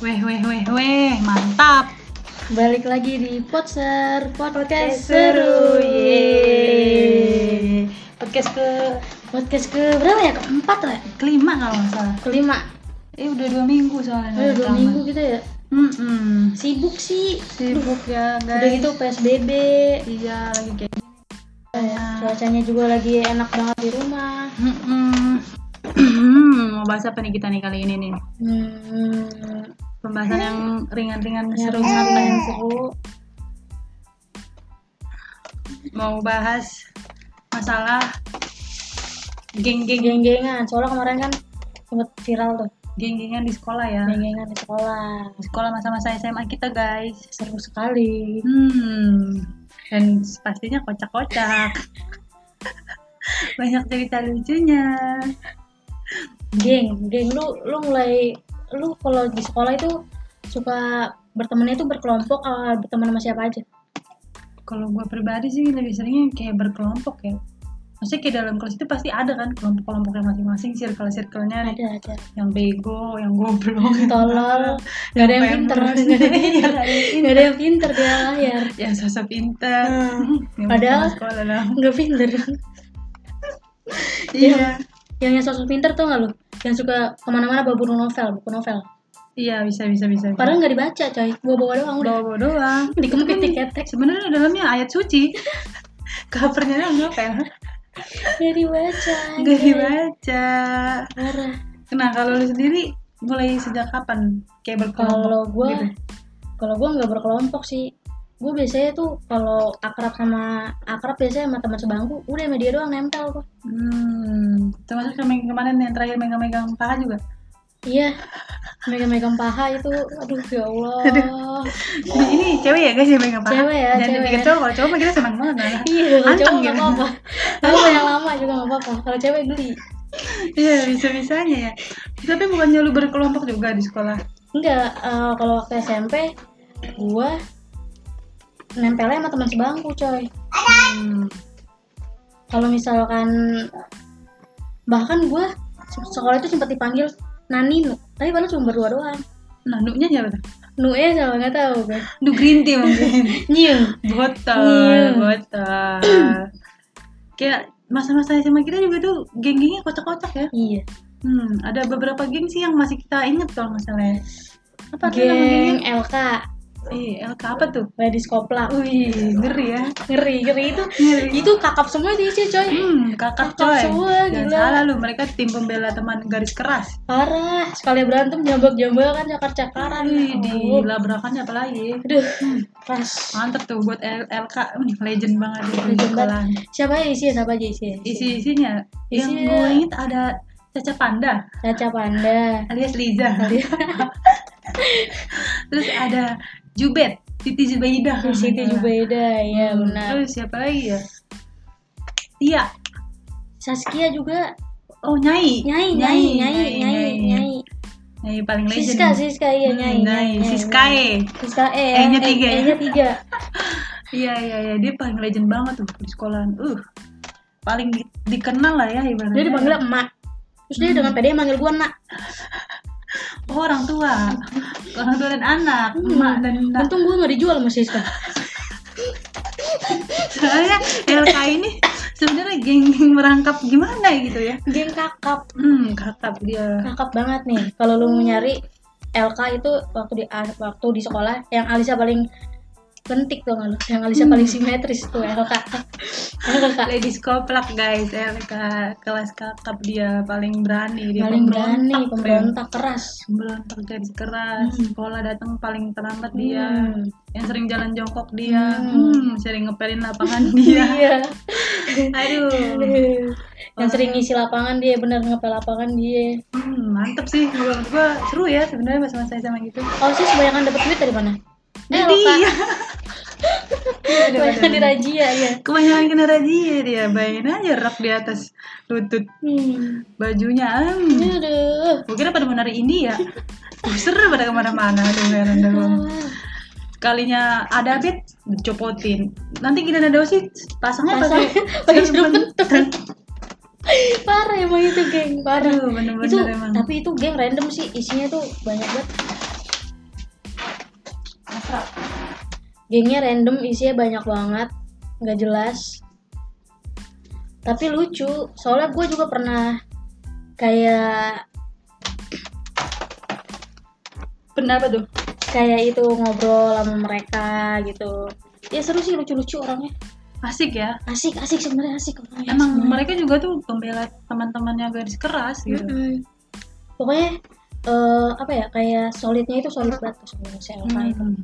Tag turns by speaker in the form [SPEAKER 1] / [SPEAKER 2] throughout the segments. [SPEAKER 1] Weh weh weh weh, mantap.
[SPEAKER 2] Balik lagi di Potser Podcast
[SPEAKER 1] Podcast
[SPEAKER 2] seru.
[SPEAKER 1] seru,
[SPEAKER 2] Yeay.
[SPEAKER 1] yeay. Podcast ke
[SPEAKER 2] Podcast ke berapa ya? Keempat lah. ya?
[SPEAKER 1] kelima kalau nggak salah.
[SPEAKER 2] Kelima.
[SPEAKER 1] Eh udah dua minggu soalnya.
[SPEAKER 2] Udah dua minggu gitu ya.
[SPEAKER 1] Hmm,
[SPEAKER 2] Sibuk sih.
[SPEAKER 1] sibuk ya guys.
[SPEAKER 2] Udah gitu PSBB.
[SPEAKER 1] Iya lagi kayak. ya.
[SPEAKER 2] Cuacanya juga lagi enak banget di rumah.
[SPEAKER 1] Hmm, hmm. mau bahas apa nih kita nih kali ini nih?
[SPEAKER 2] Hmm.
[SPEAKER 1] Pembahasan yang ringan-ringan seru
[SPEAKER 2] Seru apa yang
[SPEAKER 1] santai.
[SPEAKER 2] seru?
[SPEAKER 1] Mau bahas masalah geng-geng
[SPEAKER 2] Geng-gengan. Soalnya kemarin kan sempet viral tuh.
[SPEAKER 1] geng-gengan di sekolah ya.
[SPEAKER 2] Geng-gengan di sekolah.
[SPEAKER 1] Di sekolah masa-masa SMA kita guys.
[SPEAKER 2] Seru sekali.
[SPEAKER 1] Hmm, dan pastinya kocak-kocak. Banyak cerita lucunya.
[SPEAKER 2] geng geng lu lu mulai lu kalau di sekolah itu suka bertemannya itu berkelompok atau berteman sama siapa aja
[SPEAKER 1] Kalau gue pribadi sih lebih seringnya kayak berkelompok ya. Maksudnya kayak dalam kelas itu pasti ada kan kelompok-kelompoknya masing-masing, circle-circle-nya
[SPEAKER 2] ada aja
[SPEAKER 1] yang bego, yang goblok, yang
[SPEAKER 2] tolol nggak ada yang pinter
[SPEAKER 1] pemes.
[SPEAKER 2] nggak ada yang pinter.
[SPEAKER 1] Nggak ada yang
[SPEAKER 2] nggak ada yang pinter dia layar
[SPEAKER 1] iya. yang sosok pinter.
[SPEAKER 2] Hmm.
[SPEAKER 1] Yang
[SPEAKER 2] Padahal-
[SPEAKER 1] bukan sekolah lah.
[SPEAKER 2] nggak pinter
[SPEAKER 1] Iya.
[SPEAKER 2] yang yang sosok pinter tuh nggak lu yang suka kemana-mana bawa buku novel buku novel
[SPEAKER 1] Iya, bisa bisa bisa. bisa.
[SPEAKER 2] padahal nggak dibaca coy gua bawa doang udah
[SPEAKER 1] bawa-bawa doang.
[SPEAKER 2] dikemukit diketek
[SPEAKER 1] Sebenarnya dalamnya ayat suci. Covernya doang novel.
[SPEAKER 2] nggak dibaca
[SPEAKER 1] Gak dibaca.
[SPEAKER 2] parah
[SPEAKER 1] Nah kalau lu sendiri mulai sejak kapan kayak berkelompok?
[SPEAKER 2] kalau gue
[SPEAKER 1] gitu.
[SPEAKER 2] kalau gue nggak berkelompok sih gue biasanya tuh kalau akrab sama akrab biasanya sama teman sebangku udah sama dia doang nempel kok
[SPEAKER 1] Hmm, termasuk kemarin kemarin yang terakhir megang-megang paha juga.
[SPEAKER 2] iya megang-megang paha itu aduh ya allah
[SPEAKER 1] Ini, ini cewek ya guys yang megang paha.
[SPEAKER 2] Iya. Cewek ya,
[SPEAKER 1] Jangan
[SPEAKER 2] cewek.
[SPEAKER 1] dipikir cowok, kalau cowok mah kita senang banget. malah.
[SPEAKER 2] iya kalau
[SPEAKER 1] Anteng
[SPEAKER 2] cowok nggak
[SPEAKER 1] gitu.
[SPEAKER 2] apa-apa kalau yang lama juga nggak apa-apa kalau cewek geli
[SPEAKER 1] Iya bisa bisanya ya. Tapi bukannya lu berkelompok juga di sekolah?
[SPEAKER 2] enggak eh, kalau waktu SMP gue nempelnya sama teman sebangku coy
[SPEAKER 1] Hmm.
[SPEAKER 2] kalau misalkan bahkan gue sekolah itu sempat dipanggil Nani Nu tapi padahal cuma berdua doang
[SPEAKER 1] Nah, nuknya siapa tuh?
[SPEAKER 2] Nu ya sama nggak tahu gue
[SPEAKER 1] Nuk green tea mungkin.
[SPEAKER 2] Nyium Iya.
[SPEAKER 1] botol, botol. Kayak masa-masa SMA kita juga tuh geng-gengnya kocak-kocak ya.
[SPEAKER 2] Iya
[SPEAKER 1] Hmm, ada beberapa geng sih yang masih kita inget kalau nggak salah ya. Apa tuh nama gengnya?
[SPEAKER 2] Geng LK
[SPEAKER 1] Eh, LK apa tuh?
[SPEAKER 2] Ladies Koplak
[SPEAKER 1] Wih, ngeri ya.
[SPEAKER 2] Ngeri ngeri itu
[SPEAKER 1] Ngeri.
[SPEAKER 2] Itu kakap semua itu isi coy
[SPEAKER 1] Hmm, kakak
[SPEAKER 2] Kakak
[SPEAKER 1] coy.
[SPEAKER 2] semua,
[SPEAKER 1] Jangan
[SPEAKER 2] gila.
[SPEAKER 1] salah lu, mereka tim pembela teman garis keras.
[SPEAKER 2] Parah Sekali berantem jambak-jambakan cakar-cakaran
[SPEAKER 1] Wih, Hmm. di
[SPEAKER 2] Aduh.
[SPEAKER 1] labrakannya apalagi.
[SPEAKER 2] Aduh Keras
[SPEAKER 1] Mantep tuh buat L- LK, Hmm, legend banget di
[SPEAKER 2] Legend
[SPEAKER 1] sekolah.
[SPEAKER 2] Siapa ya isi Siapa aja isi
[SPEAKER 1] Isi-isinya, yang
[SPEAKER 2] Isinya.
[SPEAKER 1] gue inget ada Caca Panda
[SPEAKER 2] Caca Panda
[SPEAKER 1] alias Liza. iya. Terus ada Jubet, Siti Zubaidah. kalau
[SPEAKER 2] Siti
[SPEAKER 1] nggak salah.
[SPEAKER 2] Jubaida Ya
[SPEAKER 1] Hmm,
[SPEAKER 2] benar
[SPEAKER 1] Terus siapa lagi ya? Tia.
[SPEAKER 2] Saskia juga
[SPEAKER 1] Oh, Nyai.
[SPEAKER 2] Nyai Nyai Nyai Nyai Nyai
[SPEAKER 1] Nyai paling legend.
[SPEAKER 2] Siska Siska iya
[SPEAKER 1] Hmm, eh.
[SPEAKER 2] Nyai Nyai
[SPEAKER 1] Siskae.
[SPEAKER 2] Siska E
[SPEAKER 1] E-nya
[SPEAKER 2] E-
[SPEAKER 1] tiga ya?
[SPEAKER 2] E-nya tiga
[SPEAKER 1] Iya, iya, iya. Dia paling legend banget tuh di sekolahan. Uh. Paling di- dikenal lah ya ibaratnya.
[SPEAKER 2] dia dipanggil emak terus dia
[SPEAKER 1] Hmm.
[SPEAKER 2] dengan pede manggil gue nak
[SPEAKER 1] Oh, orang tua. orang tua dan anak,
[SPEAKER 2] Hmm.
[SPEAKER 1] emak dan nak.
[SPEAKER 2] untung gue nggak dijual sama Siska
[SPEAKER 1] Soalnya LK ini sebenarnya geng-geng merangkap gimana gitu ya.
[SPEAKER 2] geng kakap
[SPEAKER 1] Hmm, kakap Hmm. dia.
[SPEAKER 2] kakap banget nih kalau lu mau nyari LK itu waktu di waktu di sekolah yang Alisa paling lentik tuh lu yang Alisa
[SPEAKER 1] Hmm.
[SPEAKER 2] paling simetris tuh LK LK
[SPEAKER 1] Ladies koplak guys, LK kelas kakap dia paling berani, dia
[SPEAKER 2] paling berani
[SPEAKER 1] pemberontak,
[SPEAKER 2] pemberontak keras
[SPEAKER 1] pemberontak garis keras
[SPEAKER 2] Hmm.
[SPEAKER 1] sekolah datang paling terlambat dia
[SPEAKER 2] Hmm.
[SPEAKER 1] yang sering jalan jongkok dia
[SPEAKER 2] Hmm.
[SPEAKER 1] hmm, sering ngepelin lapangan dia
[SPEAKER 2] iya
[SPEAKER 1] aduh
[SPEAKER 2] yang sering ngisi lapangan dia bener ngepel lapangan dia
[SPEAKER 1] hmm, mantep sih Gua- menurut gua seru ya sebenarnya masa-masa SMA gitu
[SPEAKER 2] kalau sih kebanyakan dapat duit dari mana
[SPEAKER 1] Jadi
[SPEAKER 2] LK
[SPEAKER 1] iya.
[SPEAKER 2] kebanyakan di razia ya
[SPEAKER 1] kebanyakan kena razia dia bayangin aja rak di atas lutut
[SPEAKER 2] hmm.
[SPEAKER 1] bajunya hmm.
[SPEAKER 2] aduh
[SPEAKER 1] Gua kira pada menari India seru pada kemana-mana aduh heran dah gua. sekalinya ada bit dicopotin nanti kita ada dosis pasangnya
[SPEAKER 2] Pasang- pakai sirup kentut. parah emang itu geng parah
[SPEAKER 1] Aduh, bener-bener
[SPEAKER 2] itu
[SPEAKER 1] emang.
[SPEAKER 2] tapi itu geng random sih isinya tuh banyak banget gengnya random isinya banyak banget nggak jelas tapi lucu soalnya gue juga pernah kayak
[SPEAKER 1] Kenapa tuh?
[SPEAKER 2] kayak itu ngobrol sama mereka gitu ya seru sih lucu-lucu orangnya
[SPEAKER 1] Asik ya.
[SPEAKER 2] asik asik sebenarnya asik
[SPEAKER 1] Emang
[SPEAKER 2] orangnya Iya, sebenarnya.
[SPEAKER 1] mereka juga tuh pembela teman-temannya garis keras gitu.
[SPEAKER 2] Mm-mm. pokoknya eh, apa ya kayak solidnya itu solid banget tuh sebenarnya si LK itu
[SPEAKER 1] Hmm.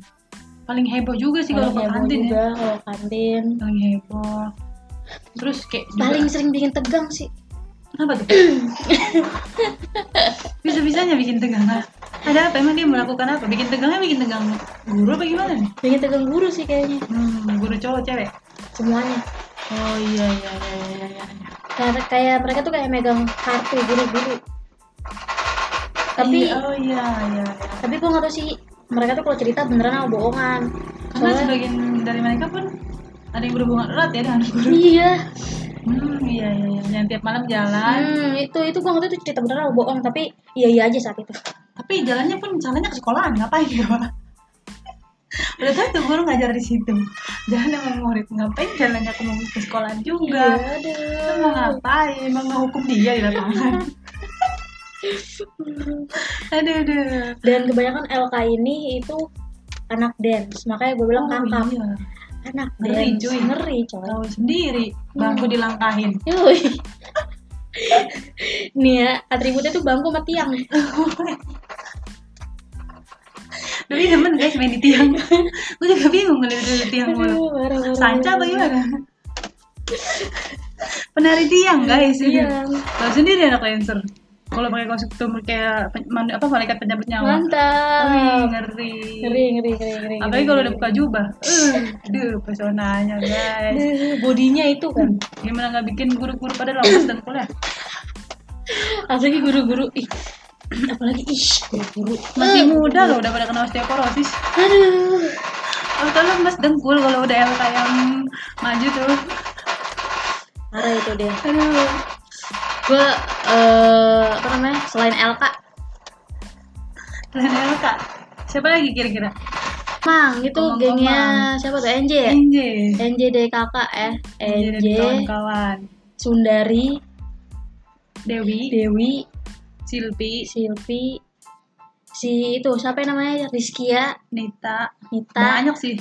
[SPEAKER 1] Paling heboh juga sih kalau ke
[SPEAKER 2] Paling heboh
[SPEAKER 1] kantin ya.
[SPEAKER 2] juga kalau kantin
[SPEAKER 1] Paling heboh. Terus kayak juga-
[SPEAKER 2] paling sering bikin tegang sih
[SPEAKER 1] kenapa tuh? Bisa-bisanya bikin tegang. ah. Ada apa? Emang dia melakukan apa? Bikin tegangnya bikin tegang guru apa gimana nih?
[SPEAKER 2] bikin tegang guru sih kayaknya
[SPEAKER 1] Hmm, guru cowok cewek.
[SPEAKER 2] semuanya
[SPEAKER 1] Oh iya iya iya iya. iya.
[SPEAKER 2] karena kayak mereka tuh kayak megang kartu guru-guru tapi
[SPEAKER 1] Iya, oh iya iya. iya.
[SPEAKER 2] tapi gue nggak tahu sih mereka tuh kalau cerita beneran atau bohongan
[SPEAKER 1] Karena
[SPEAKER 2] soalnya
[SPEAKER 1] sebagian dari mereka pun ada yang berhubungan erat ya dengan guru.
[SPEAKER 2] iya
[SPEAKER 1] Hmm, iya iya iya. Yang tiap malam jalan.
[SPEAKER 2] Hmm, itu itu gua nggak tahu itu cerita beneran atau bohong tapi iya iya aja saat itu
[SPEAKER 1] Tapi jalannya pun jalannya ke sekolahan, ngapain ya? Udah tahu tuh guru ngajar di situ. Jalan sama murid, ngapain jalannya ke, ke sekolahan
[SPEAKER 2] Iya.
[SPEAKER 1] juga? Kita mau
[SPEAKER 2] aduh
[SPEAKER 1] ngapain? Mau ngehukum dia di lapangan? aduh aduh.
[SPEAKER 2] dan kebanyakan LK ini itu anak dance makanya gue bilang kakap
[SPEAKER 1] iya.
[SPEAKER 2] anak
[SPEAKER 1] Ngeri,
[SPEAKER 2] dance
[SPEAKER 1] cuy.
[SPEAKER 2] ngeri coy
[SPEAKER 1] Tahu sendiri, bangku dilangkahin.
[SPEAKER 2] Yoi. nih ya atributnya tuh bangku sama tiang
[SPEAKER 1] Dulu demen guys main di tiang. Gue juga bingung ngeliat di tiang mulu.
[SPEAKER 2] Aduh, parah, parah.
[SPEAKER 1] Sanca bagaimana? Penari tiang guys ini.
[SPEAKER 2] tiang
[SPEAKER 1] Tahu sendiri anak lancer. Kalau pakai kostum kayak pen- man- apa malaikat penyambut nyawa. Wih,
[SPEAKER 2] mantap
[SPEAKER 1] ngeri.
[SPEAKER 2] ngeri ngeri ngeri ngeri
[SPEAKER 1] Apalagi kalau udah buka jubah. Eh, aduh, pesonanya guys.
[SPEAKER 2] Aduh, bodinya itu kan
[SPEAKER 1] Gimana nggak bikin guru-guru pada lemas dan kuliah?
[SPEAKER 2] apalagi guru-guru ih apalagi ih guru-guru
[SPEAKER 1] Masih muda loh, udah pada kena osteoporosis.
[SPEAKER 2] aduh
[SPEAKER 1] Kalau kalau mas dengkul kalau udah LK yang maju tuh.
[SPEAKER 2] parah itu deh
[SPEAKER 1] Aduh.
[SPEAKER 2] gue eh, apa namanya selain LK
[SPEAKER 1] Selain LK, siapa lagi kira-kira?
[SPEAKER 2] Mang itu
[SPEAKER 1] Ngomong-ngomong.
[SPEAKER 2] gengnya siapa tuh NJ ya
[SPEAKER 1] Enje.
[SPEAKER 2] NJ kakak eh
[SPEAKER 1] Enje
[SPEAKER 2] NJ
[SPEAKER 1] dan kawan-kawan.
[SPEAKER 2] Sundari
[SPEAKER 1] Dewi,
[SPEAKER 2] Dewi
[SPEAKER 1] Silpi,
[SPEAKER 2] Silvi si itu siapa yang namanya Rizkia
[SPEAKER 1] Nita,
[SPEAKER 2] Nita
[SPEAKER 1] banyak sih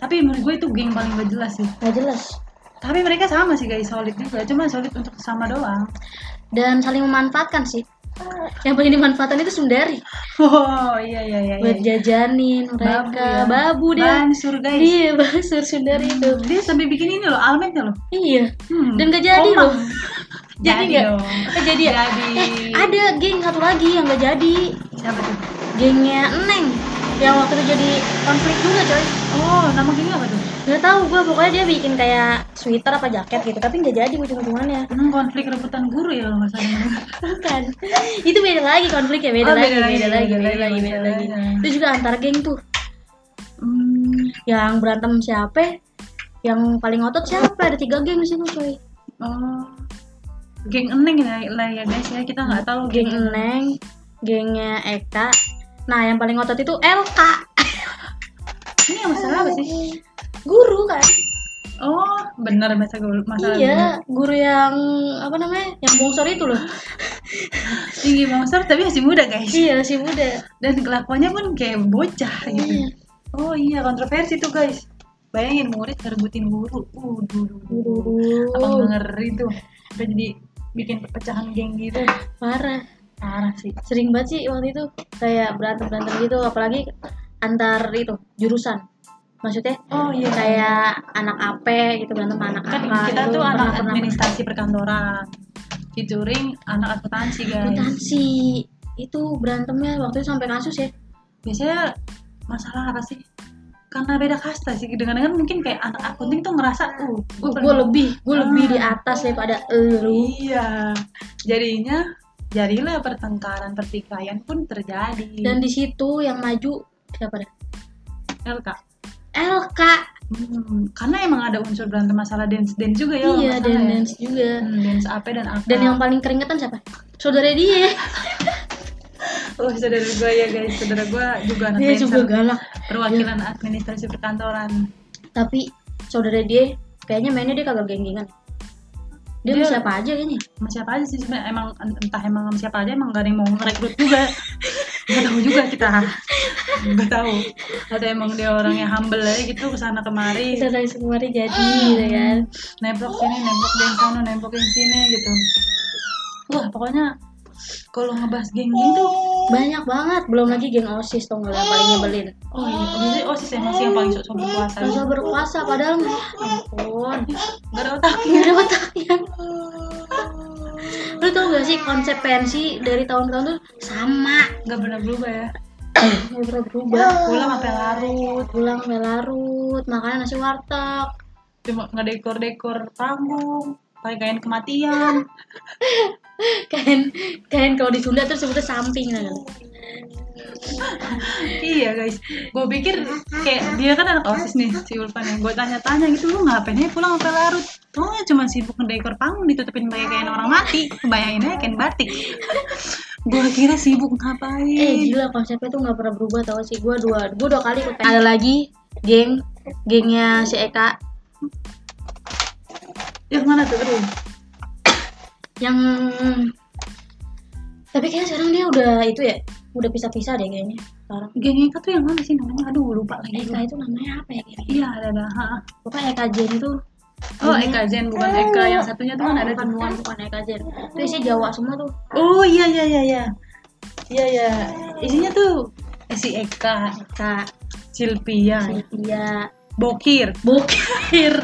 [SPEAKER 1] tapi menurut gue itu geng paling gak jelas sih
[SPEAKER 2] nggak jelas
[SPEAKER 1] tapi mereka sama sih guys solid juga cuma solid untuk sama doang
[SPEAKER 2] dan saling memanfaatkan sih yang paling dimanfaatkan itu Sundari
[SPEAKER 1] oh iya iya iya,
[SPEAKER 2] buat
[SPEAKER 1] iya.
[SPEAKER 2] jajanin mereka Eh. babu, ya. deh
[SPEAKER 1] bansur guys
[SPEAKER 2] Iya, Basur Sundari itu.
[SPEAKER 1] dia sampai bikin ini loh almeknya loh
[SPEAKER 2] Iya.
[SPEAKER 1] hmm.
[SPEAKER 2] Dan gak jadi
[SPEAKER 1] Komang.
[SPEAKER 2] loh.
[SPEAKER 1] jadi
[SPEAKER 2] Jadi nggak?
[SPEAKER 1] dong
[SPEAKER 2] Eh, jadi ya?
[SPEAKER 1] jadi
[SPEAKER 2] Eh, ada geng satu lagi yang gak jadi.
[SPEAKER 1] siapa tuh
[SPEAKER 2] Gengnya Neng yang waktu itu jadi konflik juga, coy.
[SPEAKER 1] oh nama gengnya apa tuh
[SPEAKER 2] Gak tahu gue pokoknya dia bikin kayak sweater apa jaket gitu, tapi gak jadi ujung-ujungannya.
[SPEAKER 1] hmm, konflik rebutan guru ya kalau nggak salah
[SPEAKER 2] Bukan. itu beda lagi konfliknya, beda,
[SPEAKER 1] Oh,
[SPEAKER 2] lagi,
[SPEAKER 1] beda
[SPEAKER 2] beda lagi, beda lagi, beda
[SPEAKER 1] masalahnya.
[SPEAKER 2] lagi. Itu juga antar geng tuh.
[SPEAKER 1] hmm.
[SPEAKER 2] Yang berantem siapa? Yang paling otot siapa? Ada tiga geng di sini, coy.
[SPEAKER 1] oh geng eneng lah lah ya guys ya kita nggak tahu
[SPEAKER 2] geng Eneng, gengnya Eka. Nah, yang paling otot itu LK.
[SPEAKER 1] ini yang masalah apa sih
[SPEAKER 2] Guru kan?
[SPEAKER 1] Oh, benar masa gue masalah gue.
[SPEAKER 2] iya, guru yang apa namanya? Yang bongsor itu loh.
[SPEAKER 1] tinggi monster tapi masih muda guys.
[SPEAKER 2] iya, si muda.
[SPEAKER 1] Dan kelakuannya pun kayak bocah gitu. Oh iya kontroversi tuh guys. Bayangin murid ngerebutin guru. Uh, duh, duh, duh, duh.
[SPEAKER 2] Guru.
[SPEAKER 1] Apa nggak ngeri tuh? Udah jadi bikin perpecahan geng gitu.
[SPEAKER 2] Parah.
[SPEAKER 1] Parah sih.
[SPEAKER 2] Sering banget sih waktu itu kayak berantem-berantem gitu, apalagi antar itu jurusan. Maksudnya
[SPEAKER 1] Oh iya.
[SPEAKER 2] kayak anak AP gitu berantem sama anak
[SPEAKER 1] kan
[SPEAKER 2] apa
[SPEAKER 1] kita
[SPEAKER 2] gitu,
[SPEAKER 1] tuh anak
[SPEAKER 2] pernah-pernah.
[SPEAKER 1] administrasi perkantoran. Featuring anak akuntansi guys.
[SPEAKER 2] Akuntansi. itu berantemnya waktu itu sampai kasus ya
[SPEAKER 1] Biasanya masalah apa sih? Karena beda kasta sih. Dengan-dengan mungkin kayak anak akunting tuh ngerasa uh,
[SPEAKER 2] gue
[SPEAKER 1] paling-
[SPEAKER 2] lebih gue
[SPEAKER 1] Ah.
[SPEAKER 2] lebih di atas daripada elu
[SPEAKER 1] Iya. Jadinya jadilah pertengkaran pertikaian pun terjadi.
[SPEAKER 2] dan di situ yang maju siapa dah
[SPEAKER 1] LK.
[SPEAKER 2] LK
[SPEAKER 1] Hmm, karena emang ada unsur berantem masalah dance dance juga ya. kalau
[SPEAKER 2] iya
[SPEAKER 1] nggak
[SPEAKER 2] dan
[SPEAKER 1] salah ya.
[SPEAKER 2] dance juga
[SPEAKER 1] Hmm, dance AP dan AK.
[SPEAKER 2] dan yang paling keringetan siapa saudara dia
[SPEAKER 1] oh saudara gue ya guys, saudara gue juga anak
[SPEAKER 2] dia
[SPEAKER 1] dancer.
[SPEAKER 2] Iya, juga kan. galak
[SPEAKER 1] perwakilan administrasi perkantoran
[SPEAKER 2] tapi saudara dia kayaknya mainnya dia kagak geng-gengan dia,
[SPEAKER 1] Dia-
[SPEAKER 2] bisa apa aja kayaknya
[SPEAKER 1] sama siapa aja sih sebenarnya emang entah emang sama siapa aja emang gak ada yang mau ngerekrut juga nggak tahu juga kita nggak tahu atau emang dia orangnya humble aja gitu kesana kemari
[SPEAKER 2] kita dari kemarin jadi gitu kan
[SPEAKER 1] nembok sini nembok yang sana nembok yang sini gitu wah pokoknya kalau ngebahas geng-geng tuh
[SPEAKER 2] banyak banget belum lagi geng osis tuh nggak yang paling nyebelin
[SPEAKER 1] oh iya biasanya oh sih emang sih yang paling sok-sok berkuasa
[SPEAKER 2] masa berpuasa padahal ya ampun
[SPEAKER 1] nggak ada otaknya
[SPEAKER 2] nggak ada otaknya lu tau gak sih konsep pensi dari tahun ke tahun tuh sama
[SPEAKER 1] nggak pernah berubah ya
[SPEAKER 2] nggak pernah berubah
[SPEAKER 1] pulang sampai larut
[SPEAKER 2] pulang sampai larut makanan nasi warteg
[SPEAKER 1] cuma ngedekor-dekor panggung pakai kain kematian
[SPEAKER 2] kain kain kalau di Sunda tuh sebutnya samping kan
[SPEAKER 1] iya guys gue pikir kayak dia kan anak osis nih si Ulfan yang gue tanya-tanya gitu lu ngapain aja pulang sampai larut tuh cuma sibuk ngedekor panggung ditutupin pakai kain orang mati bayangin aja kain batik gue kira sibuk
[SPEAKER 2] eh
[SPEAKER 1] ngapain
[SPEAKER 2] gila konsepnya tuh nggak pernah berubah tau sih gue dua gue dua kali ikut pensi. ada lagi geng gengnya si Eka
[SPEAKER 1] yang mana tuh aduh
[SPEAKER 2] yang tapi kayaknya sekarang dia udah itu ya udah pisah-pisah deh kayaknya sekarang
[SPEAKER 1] geng Eka tuh yang mana sih namanya aduh lupa lagi
[SPEAKER 2] Eka itu namanya apa ya kayaknya
[SPEAKER 1] iya ada ada ha.
[SPEAKER 2] pokoknya Eka Jen itu
[SPEAKER 1] oh Eka Zen bukan Eka yang satunya tuh kan ada
[SPEAKER 2] bukan bukan, bukan Eka Jen itu isinya Jawa semua tuh
[SPEAKER 1] oh iya iya iya iya iya iya isinya tuh eh, si Eka
[SPEAKER 2] Eka
[SPEAKER 1] Silvia
[SPEAKER 2] Sylvia
[SPEAKER 1] Bokir
[SPEAKER 2] Bukir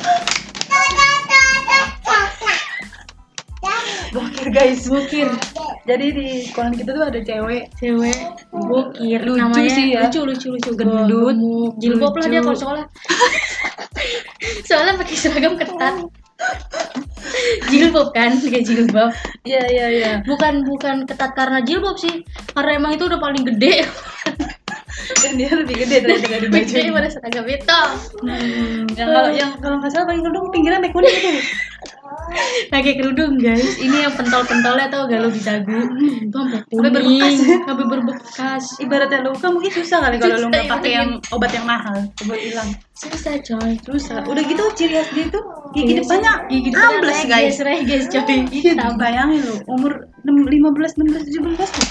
[SPEAKER 1] Bokir guys, bokir. Jadi di sekolah kita tuh ada cewek
[SPEAKER 2] cewek Bukir
[SPEAKER 1] Lucu
[SPEAKER 2] namanya
[SPEAKER 1] sih ya.
[SPEAKER 2] lucu lucu lucu
[SPEAKER 1] Gendut,
[SPEAKER 2] gemuk, jilbab lah
[SPEAKER 1] lucu.
[SPEAKER 2] dia kalau sekolah soalnya pakai seragam ketat jilbab kan pakai jilbab
[SPEAKER 1] Iya iya iya.
[SPEAKER 2] bukan bukan ketat karena jilbab sih karena emang itu udah paling gede
[SPEAKER 1] Dan dia lebih gede ternyata dari baju. Hmm.
[SPEAKER 2] gede pada seragam itu
[SPEAKER 1] yang kalau yang kalau nggak salah paling kerudung pinggiran naik kuning gitu.
[SPEAKER 2] pakai kerudung guys ini yang pentol pentolnya tau gak lo di dagu itu sampai
[SPEAKER 1] Sampai
[SPEAKER 2] kuning
[SPEAKER 1] berbekas.
[SPEAKER 2] sampai berbekas
[SPEAKER 1] Ibaratnya luka mungkin susah kali kalau lu nggak
[SPEAKER 2] Susah,
[SPEAKER 1] pakai
[SPEAKER 2] iya.
[SPEAKER 1] yang obat yang mahal buat hilang.
[SPEAKER 2] susah coy
[SPEAKER 1] Susah. Udah gitu ciri khas dia tuh gigi depannya
[SPEAKER 2] gigi depannya
[SPEAKER 1] Iya. ambles guys.
[SPEAKER 2] reges coy
[SPEAKER 1] Iya, bayangin lu umur 15, 16, 17 tuh.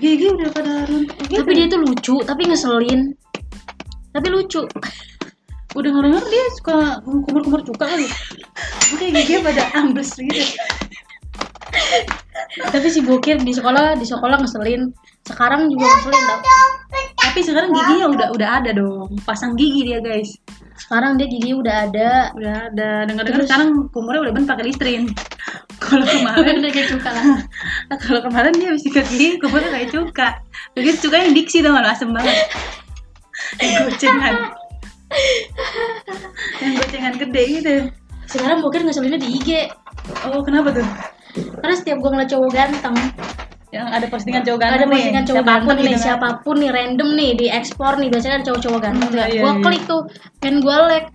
[SPEAKER 1] Gigi udah pada runtuh gitu.
[SPEAKER 2] tapi dia tuh lucu tapi ngeselin tapi lucu
[SPEAKER 1] udah denger dia suka kumur-kumur cuka kali Oke giginya pada ambles gitu
[SPEAKER 2] tapi si bokir di sekolah di sekolah ngeselin sekarang juga ngeselin tau
[SPEAKER 1] tapi sekarang giginya udah udah ada dong pasang gigi dia guys
[SPEAKER 2] sekarang dia gigi udah ada
[SPEAKER 1] udah ada dengar dengar
[SPEAKER 2] Terus?
[SPEAKER 1] sekarang kumurnya udah ben pakai listrin kalau kemarin
[SPEAKER 2] udah kayak cuka lah
[SPEAKER 1] kalau kemarin dia habis sikat gigi kumurnya kayak cuka begitu cuka yang diksi dong lo asem banget yang gocengan yang gocengan gede gitu
[SPEAKER 2] sekarang bokir ngeselinnya di IG
[SPEAKER 1] oh kenapa tuh
[SPEAKER 2] karena setiap gue ngeliat cowok ganteng
[SPEAKER 1] yang ada postingan cowok
[SPEAKER 2] ada
[SPEAKER 1] ganteng
[SPEAKER 2] postingan
[SPEAKER 1] nih,
[SPEAKER 2] cowok
[SPEAKER 1] siapapun
[SPEAKER 2] ganteng nih
[SPEAKER 1] gitu kan.
[SPEAKER 2] siapapun nih random nih di ekspor nih biasanya kan cowok-cowok ganteng
[SPEAKER 1] Hmm,
[SPEAKER 2] ya.
[SPEAKER 1] iya,
[SPEAKER 2] gue
[SPEAKER 1] iya.
[SPEAKER 2] klik tuh pengen gue like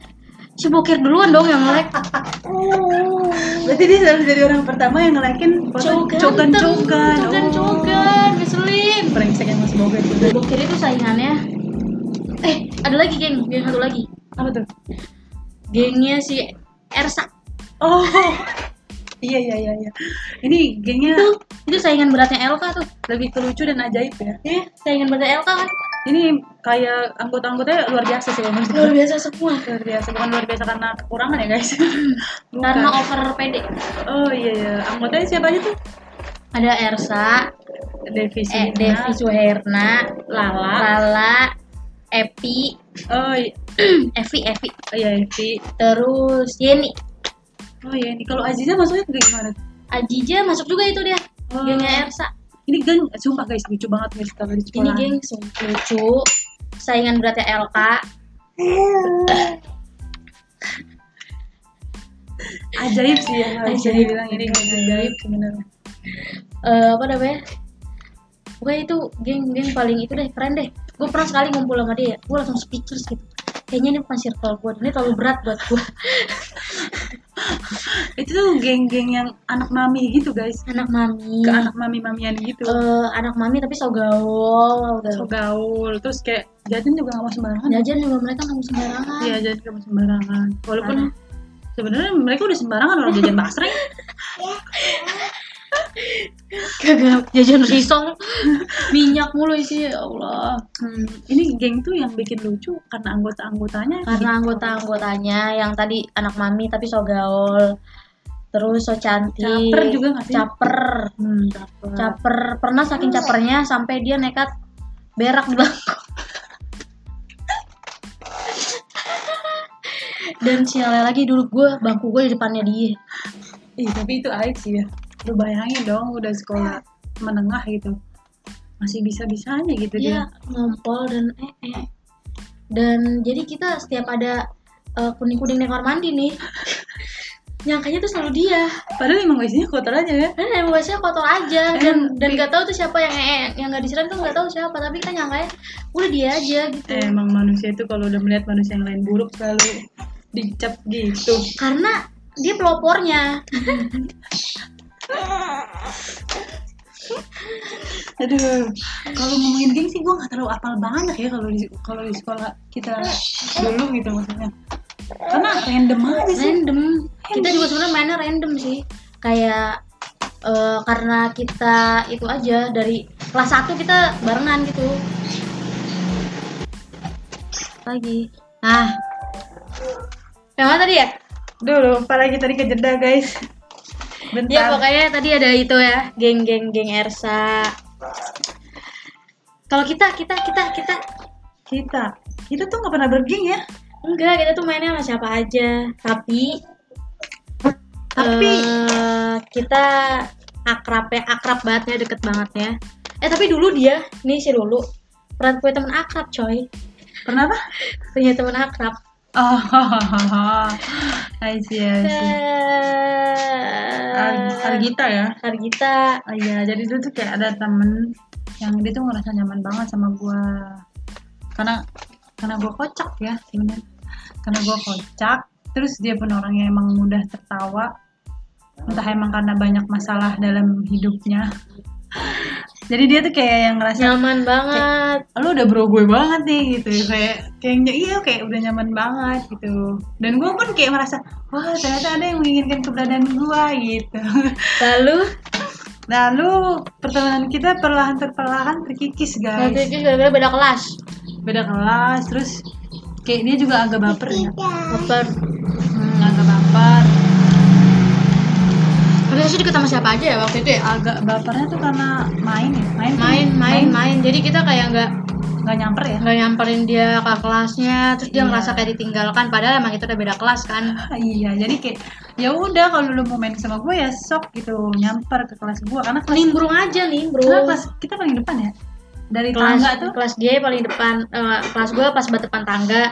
[SPEAKER 2] si bokir duluan dong yang like Oh.
[SPEAKER 1] Berarti dia selalu jadi orang pertama yang ngelakin foto cokan-cokan.
[SPEAKER 2] cokan
[SPEAKER 1] oh.
[SPEAKER 2] cokan ngeselin
[SPEAKER 1] Brengsek emang si Boga itu.
[SPEAKER 2] bokir itu saingannya eh ada lagi geng geng satu lagi
[SPEAKER 1] Apa tuh?
[SPEAKER 2] gengnya si Ersa
[SPEAKER 1] Oh. Iya iya iya iya. Ini gengnya
[SPEAKER 2] itu itu saingan beratnya Elka tuh
[SPEAKER 1] lebih kelucu dan ajaib ya.
[SPEAKER 2] eh saingan beratnya Elka kan
[SPEAKER 1] Ini kayak anggota-anggotanya luar biasa sih kalau menurut gue.
[SPEAKER 2] luar biasa semua
[SPEAKER 1] Luar biasa bukan luar biasa karena kekurangan ya guys. Bukan.
[SPEAKER 2] karena over PD
[SPEAKER 1] Oh iya iya. Anggotanya siapa aja tuh?
[SPEAKER 2] ada Ersa
[SPEAKER 1] Devi
[SPEAKER 2] eh,
[SPEAKER 1] Suherna.
[SPEAKER 2] Devi Suherna
[SPEAKER 1] Lala.
[SPEAKER 2] Lala Epi
[SPEAKER 1] Oh iya
[SPEAKER 2] Evi Evi
[SPEAKER 1] oh, iya Evi.
[SPEAKER 2] terus Yeni
[SPEAKER 1] Oh iya ini kalau Aziza masuknya kayak gimana?
[SPEAKER 2] Ajija masuk juga itu dia
[SPEAKER 1] Oh.
[SPEAKER 2] gengnya Ersa
[SPEAKER 1] Ini geng sumpah guys lucu banget guys kalau di
[SPEAKER 2] ini
[SPEAKER 1] sekolah.
[SPEAKER 2] geng sungguh lucu saingan beratnya Elka
[SPEAKER 1] ajaib sih ya harus
[SPEAKER 2] Ajaib.
[SPEAKER 1] dibilang ini geng ajaib sebenarnya
[SPEAKER 2] eh apa namanya pokoknya itu geng-geng paling itu deh keren deh gue pernah sekali ngumpul sama dia gue langsung speechless gitu kayaknya ini bukan circle gue ini terlalu berat buat gue
[SPEAKER 1] itu tuh geng-geng yang anak mami gitu guys
[SPEAKER 2] anak mami
[SPEAKER 1] ke anak mami mamian gitu
[SPEAKER 2] Eh, anak mami tapi so gaul,
[SPEAKER 1] so
[SPEAKER 2] gaul.
[SPEAKER 1] gaul terus kayak jajan juga gak mau sembarangan
[SPEAKER 2] jajan juga mereka nggak mau sembarangan
[SPEAKER 1] iya jajan gak mau sembarangan walaupun
[SPEAKER 2] Parah.
[SPEAKER 1] sebenarnya mereka udah sembarangan orang jajan basreng
[SPEAKER 2] kagak jajan risol minyak mulu isi ya Allah
[SPEAKER 1] Hmm, ini geng tuh yang bikin lucu karena anggota-anggotanya
[SPEAKER 2] karena anggota-anggotanya yang tadi anak mami tapi so gaul terus so cantik
[SPEAKER 1] Caper juga nggak sih?
[SPEAKER 2] caper
[SPEAKER 1] Hmm, caper.
[SPEAKER 2] caper pernah saking capernya sampai dia nekat berak di bangku dan sialnya lagi dulu gue bangku gue di depannya dia
[SPEAKER 1] Ih, tapi itu aib sih ya. Lu bayangin dong udah sekolah menengah gitu. Masih bisa-bisanya gitu
[SPEAKER 2] dia ngompol dan eh, eh. dan jadi kita setiap ada eh, kuning-kuning di kamar mandi nih nyangkanya tuh selalu dia
[SPEAKER 1] dia. Padahal emang isinya kotor aja ya.
[SPEAKER 2] dan emang biasanya kotor aja dan
[SPEAKER 1] Eh,
[SPEAKER 2] dan
[SPEAKER 1] bi-
[SPEAKER 2] nggak tahu tuh siapa yang eh, eh, yang nggak disiram tuh nggak tahu siapa tapi kan nyangkanya udah dia aja gitu
[SPEAKER 1] Eh, emang manusia itu kalau udah melihat manusia yang lain buruk selalu dicap gitu.
[SPEAKER 2] karena dia pelopornya
[SPEAKER 1] Aduh, kalau ngomongin geng sih gue nggak terlalu apal banyak ya kalau di kalau di sekolah kita
[SPEAKER 2] Eh,
[SPEAKER 1] dulu gitu maksudnya. Karena random aja sih.
[SPEAKER 2] random kita juga sebenarnya mainnya random sih kayak eh, karena kita itu aja dari kelas 1 kita barengan gitu lagi nah yang mana tadi ya
[SPEAKER 1] Dulu, apalagi tadi kejeda guys. Bentar.
[SPEAKER 2] ya pokoknya tadi ada itu ya geng geng geng Ersa kalau kita kita kita kita
[SPEAKER 1] Kita, kita tuh nggak pernah bergeng ya.
[SPEAKER 2] enggak kita tuh mainnya sama siapa aja tapi
[SPEAKER 1] Tapi
[SPEAKER 2] Eh, kita akrab ya akrab banget ya deket banget ya eh tapi dulu dia nih si dulu pernah punya teman akrab coy
[SPEAKER 1] pernah apa?
[SPEAKER 2] punya teman akrab
[SPEAKER 1] Oh, I see, I see. Ar-
[SPEAKER 2] Argita
[SPEAKER 1] Argita ya?
[SPEAKER 2] Argita
[SPEAKER 1] Oh iya, jadi dulu tuh kayak ada temen yang dia tuh ngerasa nyaman banget sama gua karena karena gua kocak ya sebenarnya karena gua kocak terus dia pun orangnya emang mudah tertawa entah emang karena banyak masalah dalam hidupnya jadi dia tuh kayak yang ngerasa
[SPEAKER 2] nyaman banget
[SPEAKER 1] lu udah bro gue banget nih gitu kayak kayaknya iya kayak udah nyaman banget gitu dan gue pun kayak merasa wah ternyata ada yang menginginkan keberadaan gue gitu
[SPEAKER 2] lalu
[SPEAKER 1] lalu pertemanan kita perlahan perlahan terkikis
[SPEAKER 2] waktu
[SPEAKER 1] guys
[SPEAKER 2] itu gara-gara beda kelas
[SPEAKER 1] beda kelas terus kayak dia juga agak baper ya
[SPEAKER 2] baper
[SPEAKER 1] hmm, agak baper
[SPEAKER 2] tapi harusnya deket sama siapa aja ya waktu itu ya
[SPEAKER 1] agak bapernya tuh karena main ya main tuh
[SPEAKER 2] main main main jadi kita kayak nggak
[SPEAKER 1] nggak nyamper ya
[SPEAKER 2] nggak nyamperin dia ke kelasnya terus dia
[SPEAKER 1] Iya.
[SPEAKER 2] ngerasa kayak ditinggalkan padahal emang itu udah beda kelas kan
[SPEAKER 1] Ah, iya jadi kayak ya udah kalau lu mau main sama gue ya sok gitu nyamper ke kelas gue karena kelas
[SPEAKER 2] nimbrung aja nimbrung
[SPEAKER 1] Karena kelas kita paling depan ya dari
[SPEAKER 2] kelas
[SPEAKER 1] tangga tuh.
[SPEAKER 2] kelas dia paling depan eh, kelas gue pas banget depan tangga